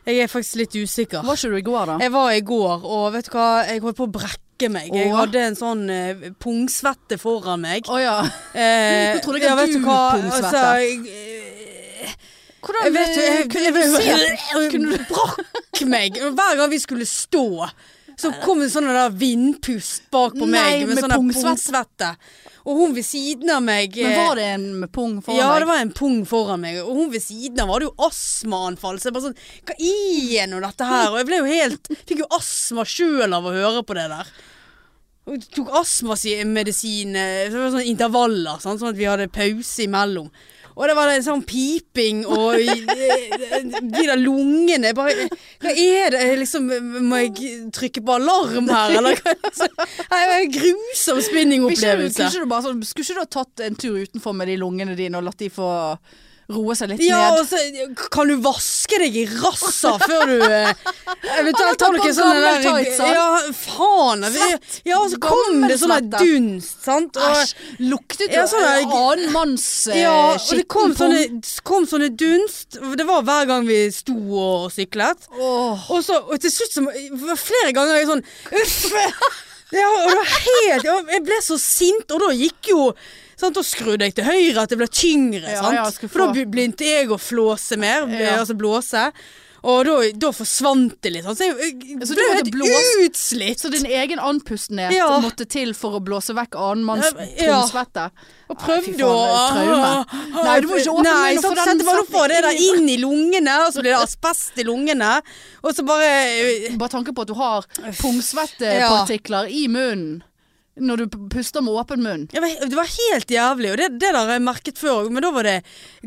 Speaker 2: jeg er faktisk litt usikker.
Speaker 1: Var ikke du i går, da?
Speaker 2: Jeg var i går, og vet du hva, jeg holdt på å brekke meg. Jeg
Speaker 1: Åh.
Speaker 2: hadde en sånn eh, pungsvette foran meg.
Speaker 1: Å ja.
Speaker 2: Eh,
Speaker 1: Jeg trodde ikke at
Speaker 2: vet
Speaker 1: du
Speaker 2: hva,
Speaker 1: pungsvette.
Speaker 2: altså, jeg,
Speaker 1: Hvordan
Speaker 2: jeg vet jo, jeg,
Speaker 1: kunne du se
Speaker 2: kunne du brakk meg. Hver gang vi skulle stå, så kom en sånn der vindpust bak på
Speaker 1: Nei,
Speaker 2: meg med,
Speaker 1: med
Speaker 2: sånn der
Speaker 1: pungsvette.
Speaker 2: pungsvette. Og hun ved siden av meg
Speaker 1: Men
Speaker 2: eh,
Speaker 1: var det en med pung foran
Speaker 2: ja, det
Speaker 1: deg?
Speaker 2: var en pung foran meg, og hun ved siden av hadde jo astmaanfall. Så jeg bare sånn Hva er nå dette her? Og jeg ble jo helt Fikk jo astma sjøl av å høre på det der. Og tok astmamedisin, eh, så det var sånne intervaller, sant? sånn at vi hadde pause imellom. Og det var det sånn piping og eh, de der lungene jeg bare, Hva er det? Liksom, må jeg trykke på alarm her, eller? hva? Så- Nei, Det var en grusom
Speaker 1: Vil ikke du-
Speaker 2: spinningopplevelse.
Speaker 1: kunne ikke du bare sånn- Skulle ikke du ha tatt en tur utenfor med de lungene dine og latt de få roe seg litt
Speaker 2: Ja,
Speaker 1: ned?
Speaker 2: og så kan du vaske deg i rassa før du eh,
Speaker 1: Han har
Speaker 2: eventuelt
Speaker 1: tatt
Speaker 2: tar
Speaker 1: på
Speaker 2: noen sånne
Speaker 1: gammel
Speaker 2: der
Speaker 1: tights, sant?
Speaker 2: Ja, faen. altså. Ja, og så kom
Speaker 1: Gammel
Speaker 2: det sånn
Speaker 1: svette.
Speaker 2: der dunst, sant. Og,
Speaker 1: Æsj, luktet jo
Speaker 2: Ja, sånn der-
Speaker 1: annen manns eh,
Speaker 2: ja, og det
Speaker 1: skitten
Speaker 2: kom sånn
Speaker 1: pung.
Speaker 2: sånne, kom sånne dunst. og Det var hver gang vi sto og syklet.
Speaker 1: Åh.
Speaker 2: Og, så, og til slutt så var flere ganger jeg sånn Uff! Ja, og det var helt ja, Jeg ble så sint, og da gikk jo sant, Da skrudde jeg til høyre at jeg ble tyngre,
Speaker 1: Ja,
Speaker 2: sant.
Speaker 1: ja, skulle
Speaker 2: For da
Speaker 1: få-
Speaker 2: be- begynte jeg å flåse mer, be-
Speaker 1: Ja.
Speaker 2: altså blåse. Og da, da forsvant det litt. Sant? Så jeg, jeg
Speaker 1: Så du
Speaker 2: ble
Speaker 1: måtte
Speaker 2: helt
Speaker 1: blåse-
Speaker 2: utslitt.
Speaker 1: Så din egen andpustenhet
Speaker 2: Ja.
Speaker 1: måtte til for å blåse vekk annen manns
Speaker 2: Ja.
Speaker 1: tromsvette?
Speaker 2: Og
Speaker 1: Nei, fy
Speaker 2: prøvde å
Speaker 1: faen, det er et traume. Nei, du må ikke åpne
Speaker 2: Nei,
Speaker 1: munnen, for
Speaker 2: sant,
Speaker 1: den
Speaker 2: sette bare opp for det
Speaker 1: setter
Speaker 2: der inn i lungene, og så blir det asbest i lungene. Og så bare
Speaker 1: Bare tanken på at du har pungsvettepartikler i munnen når du p- puster med åpen munn.
Speaker 2: Ja, men Det var helt jævlig, og det, det der har jeg merket før òg, men da var det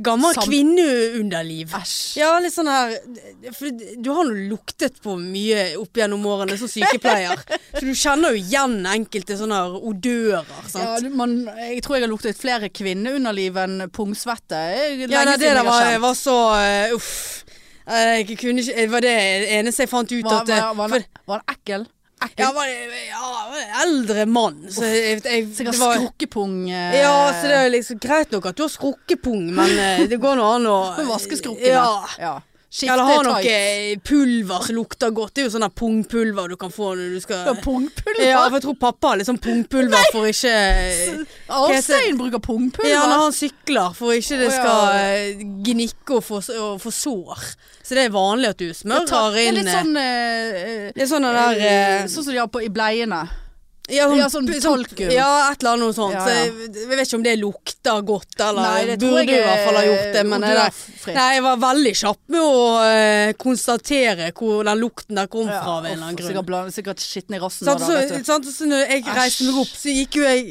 Speaker 2: gammel
Speaker 1: Sam-
Speaker 2: kvinneunderliv.
Speaker 1: Æsj.
Speaker 2: Ja, litt sånn her For du har nå luktet på mye opp gjennom årene som sykepleier, så du kjenner jo igjen enkelte sånne her odører, sant.
Speaker 1: Ja, du- man, jeg tror jeg har luktet flere kvinneunderliv enn pungsvette. Det er
Speaker 2: Ja,
Speaker 1: Lenge
Speaker 2: nei, det der
Speaker 1: siden jeg har
Speaker 2: var,
Speaker 1: kjent.
Speaker 2: var så eh, Uff. Eh, Jeg kunne ikke Det var det eneste jeg fant ut
Speaker 1: Var,
Speaker 2: at eh,
Speaker 1: var, var,
Speaker 2: for,
Speaker 1: han- var han ekkel?
Speaker 2: Ja, han var ja, han var en eldre mann. Så jeg, jeg, det
Speaker 1: Sikkert
Speaker 2: var,
Speaker 1: skrukkepung. eh,
Speaker 2: ja, så det er liksom greit nok at du har skrukkepung, men eh, det går nå an å
Speaker 1: Vaske skrukkene.
Speaker 2: Ja.
Speaker 1: Ja. Skifte
Speaker 2: Eller ha
Speaker 1: tights.
Speaker 2: noe pulver som lukter godt. Det er jo sånn der pungpulver du kan få når du skal
Speaker 1: Ja, Pungpulver?
Speaker 2: Ja, for jeg tror pappa har litt sånn pungpulver for ikke
Speaker 1: Arnstein bruker pungpulver.
Speaker 2: Ja, når han sykler, for ikke det
Speaker 1: Å, ja.
Speaker 2: skal eh, gnikke og få, og få sår. Så det er vanlig at du
Speaker 1: Det tar-
Speaker 2: smører inn
Speaker 1: Det er litt
Speaker 2: eh,
Speaker 1: sånn eh,
Speaker 2: Det er sånn den
Speaker 1: eh,
Speaker 2: der eh,
Speaker 1: Sånn som de har på, i bleiene.
Speaker 2: Ja,
Speaker 1: ja, sånn talkum.
Speaker 2: Ja, et eller annet noe sånt.
Speaker 1: Ja, ja.
Speaker 2: Så Jeg, jeg vet ikke om det lukter godt, eller
Speaker 1: Nei, det tror
Speaker 2: burde
Speaker 1: jeg
Speaker 2: i
Speaker 1: eh,
Speaker 2: hvert fall ha
Speaker 1: er
Speaker 2: gjort det. Men det der-
Speaker 1: odørfritt.
Speaker 2: nei, jeg var veldig kjapp med å eh, konstatere hvor den lukten der kom fra. av en
Speaker 1: uff,
Speaker 2: eller annen grunn. Sånn
Speaker 1: sikkert bland- Sikkert skitten i rassen.
Speaker 2: Sant,
Speaker 1: nå
Speaker 2: så,
Speaker 1: da, vet du.
Speaker 2: sant, så når jeg reiste meg opp, så gikk jo jeg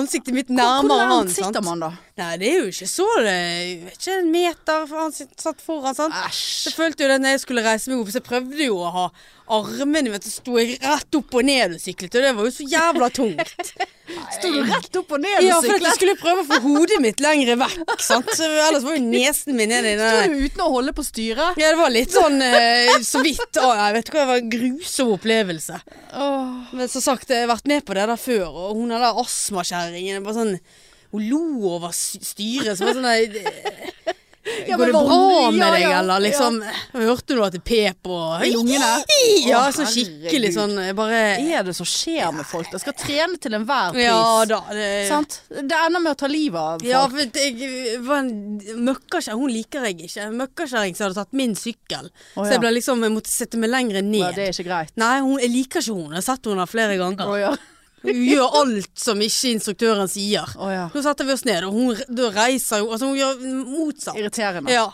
Speaker 2: ansiktet mitt
Speaker 1: Hvor
Speaker 2: nærmere han.
Speaker 1: langt
Speaker 2: Sant?
Speaker 1: sitter man da?
Speaker 2: Nei, det er jo ikke så det jeg vet Ikke en meter for han sitt- satt foran, sant. Så
Speaker 1: Æsj.
Speaker 2: følte jo det når jeg skulle reise meg opp, så jeg prøvde jo å ha armene vet du, sto jeg rett opp og ned og syklet, og det var jo så jævla tungt.
Speaker 1: Sto du rett opp og ned
Speaker 2: Ja,
Speaker 1: og
Speaker 2: for at jeg
Speaker 1: syklet?
Speaker 2: skulle prøve å få hodet mitt lengre vekk, sant. Så ellers var jo nesen min nedi den
Speaker 1: Sto
Speaker 2: der.
Speaker 1: du uten å holde på styret?
Speaker 2: Ja, det var litt sånn eh, så vidt Å, jeg vet ikke hva, det var en grusom opplevelse.
Speaker 1: Åh.
Speaker 2: Men som sagt, jeg har vært med på det der før, og hun hadde astmakjerringen. jeg Bare sånn Hun lo over sy- styret. Så bare sånn nei, det-
Speaker 1: Ja,
Speaker 2: Går
Speaker 1: men
Speaker 2: det
Speaker 1: var
Speaker 2: bra
Speaker 1: hun-
Speaker 2: med
Speaker 1: ja,
Speaker 2: deg,
Speaker 1: ja,
Speaker 2: eller liksom Hørte du at det pep og
Speaker 1: I lungene?
Speaker 2: Ja,
Speaker 1: Å,
Speaker 2: sånn skikkelig
Speaker 1: herregud.
Speaker 2: sånn jeg Bare
Speaker 1: Er det som skjer med folk? Jeg skal trene til enhver pris.
Speaker 2: Ja da. Det,
Speaker 1: Sant? Det ender med å ta livet av folk.
Speaker 2: Ja, for det- jeg var en møkkakjerring. Hun liker jeg ikke. En møkkakjerring som hadde tatt min sykkel.
Speaker 1: Å,
Speaker 2: Så
Speaker 1: ja.
Speaker 2: jeg ble liksom Jeg måtte sette meg lenger ned.
Speaker 1: Ja, det er ikke greit.
Speaker 2: Nei, hun, jeg liker ikke hun. Jeg har sett henne flere ganger.
Speaker 1: Å ja.
Speaker 2: Hun gjør alt som ikke instruktøren sier.
Speaker 1: Å, ja.
Speaker 2: Nå setter vi oss ned, og hun da reiser jo Altså, hun gjør motsatt.
Speaker 1: Irriterende.
Speaker 2: Ja.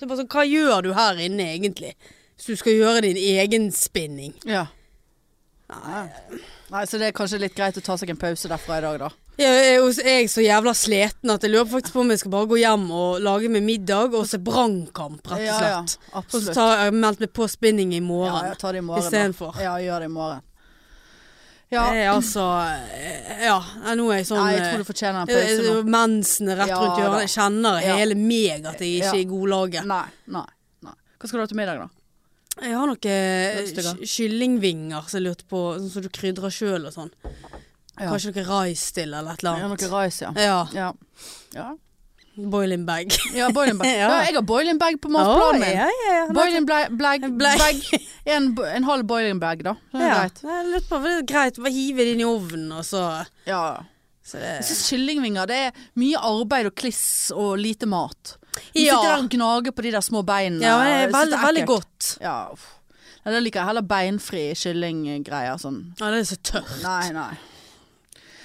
Speaker 2: Så bare sånn, hva gjør du her inne egentlig? Hvis du skal gjøre din egen spinning.
Speaker 1: Ja. Nei. Nei, så det er kanskje litt greit å ta seg en pause derfra i dag, da.
Speaker 2: Jeg er jo- jeg er så jævla sliten at jeg lurer faktisk på om jeg skal bare gå hjem og lage meg middag og se brannkamp, rett og slett. Og så
Speaker 1: absolutt.
Speaker 2: tar jeg meldt meg på spinning i morgen.
Speaker 1: Ja, ja, ta det i morgen. da.
Speaker 2: Istedenfor.
Speaker 1: Ja, gjør det i morgen. Ja,
Speaker 2: Det er altså eh, Ja, nei, nå er jeg sånn
Speaker 1: nei, jeg tror du fortjener en
Speaker 2: eh,
Speaker 1: pause nå.
Speaker 2: eh, Mensen er rett
Speaker 1: Ja,
Speaker 2: rundt hjørnet. Jeg kjenner
Speaker 1: Ja.
Speaker 2: hele meg at jeg ikke
Speaker 1: Ja.
Speaker 2: er i godlaget.
Speaker 1: Nei, nei, nei. Hva skal du ha til middag, da?
Speaker 2: Jeg har noen eh,
Speaker 1: Lønnsstykker.
Speaker 2: ky- kyllingvinger som jeg lurte på, sånn som du krydrer sjøl og sånn.
Speaker 1: Ja.
Speaker 2: Kanskje noe rais til eller et
Speaker 1: Ja,
Speaker 2: eller
Speaker 1: noe
Speaker 2: annet.
Speaker 1: rais, ja.
Speaker 2: Ja.
Speaker 1: Ja. ja.
Speaker 2: Boiling bag.
Speaker 1: ja boiling bag.
Speaker 2: Ja.
Speaker 1: Ja, jeg har boiling bag på matplanen
Speaker 2: Å,
Speaker 1: min.
Speaker 2: ja, ja, ja.
Speaker 1: Boiling blag, blag,
Speaker 2: Blag.
Speaker 1: bag. En, bo- en halv boiling bag, da. Det er
Speaker 2: ja.
Speaker 1: greit.
Speaker 2: Nei, Jeg lurte på, det er greit, bare hive det inn i ovnen, og så,
Speaker 1: Ja.
Speaker 2: så det,
Speaker 1: Jeg syns kyllingvinger det er mye arbeid og kliss og lite mat. Du
Speaker 2: Ja.
Speaker 1: sitter der og gnager på de der små
Speaker 2: Ja, men Sånn,
Speaker 1: beina.
Speaker 2: det er
Speaker 1: Jeg synes
Speaker 2: veldig,
Speaker 1: det
Speaker 2: veldig
Speaker 1: ekkelt.
Speaker 2: godt.
Speaker 1: Ja, uff. Nei, da liker jeg heller beinfri kyllinggreier sånn.
Speaker 2: Ja, det er så tørt.
Speaker 1: Nei, nei.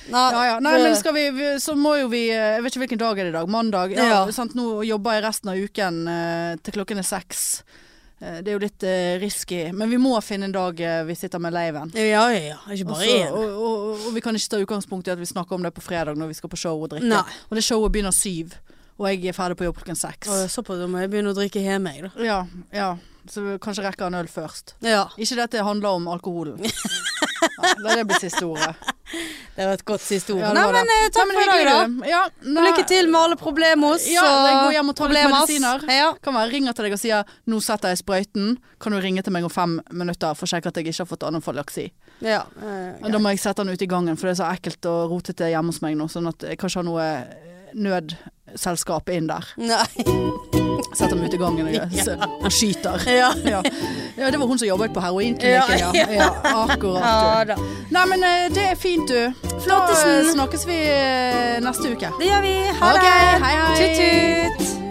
Speaker 2: Nei,
Speaker 1: Ja, ja. Nei,
Speaker 2: eh,
Speaker 1: men skal vi, vi- så må jo vi eh, Jeg vet ikke hvilken dag er det i dag. Mandag. Ja,
Speaker 2: Ja.
Speaker 1: Sant? Nå jobber jeg resten av uken eh, til klokken er seks. Eh, det er jo litt eh, risky, men vi må finne en dag eh, vi sitter med leiven.
Speaker 2: Ja, ja, ja. Ikke
Speaker 1: Og,
Speaker 2: bare
Speaker 1: så-
Speaker 2: én.
Speaker 1: og, og, og vi kan ikke ta utgangspunkt i at vi snakker om det på fredag når vi skal på show og drikke.
Speaker 2: Nei.
Speaker 1: Og det showet begynner syv, og jeg er ferdig på jobb klokken seks.
Speaker 2: Å, Såpass, da må jeg begynne å drikke hjemme, jeg, da.
Speaker 1: Ja, ja. Så vi kanskje rekker en øl først.
Speaker 2: Ja.
Speaker 1: Ikke dette handler om alkoholen. Nei, la det bli siste ordet.
Speaker 2: Det var et godt siste ord.
Speaker 1: Ja, det
Speaker 2: Nei,
Speaker 1: var det.
Speaker 2: men eh, takk
Speaker 1: Nei, men
Speaker 2: for i dag,
Speaker 1: hyggelig,
Speaker 2: da.
Speaker 1: du. Ja, nei,
Speaker 2: Lykke til med alle eh, problemos.
Speaker 1: Ja,
Speaker 2: og-
Speaker 1: gå hjem og ta litt
Speaker 2: problemas.
Speaker 1: medisiner.
Speaker 2: Ja.
Speaker 1: Kan være jeg ringer til deg og sier 'nå setter jeg sprøyten', kan du ringe til meg om fem minutter for å sjekke at jeg ikke har fått anafylaksi.
Speaker 2: ja. eh,
Speaker 1: Da må jeg sette den ut i gangen, for det er så ekkelt og rotete hjemme hos meg nå, sånn at jeg kan ikke ha noe nødselskap inn der.
Speaker 2: Nei.
Speaker 1: Setter den ut i gangen og gjør- så han skyter.
Speaker 2: Ja.
Speaker 1: Ja. ja, det var hun som jobbet på heroinklinikken, ja.
Speaker 2: Ja,
Speaker 1: ja.
Speaker 2: ja. Ja
Speaker 1: akkurat.
Speaker 2: da.
Speaker 1: du. Nei, men eh, det er fint, du. Da eh,
Speaker 2: Flottesen.
Speaker 1: snakkes vi eh, neste uke.
Speaker 2: Det gjør vi. Ha
Speaker 1: Ok,
Speaker 2: det.
Speaker 1: hei, hei.
Speaker 2: Tut-tut.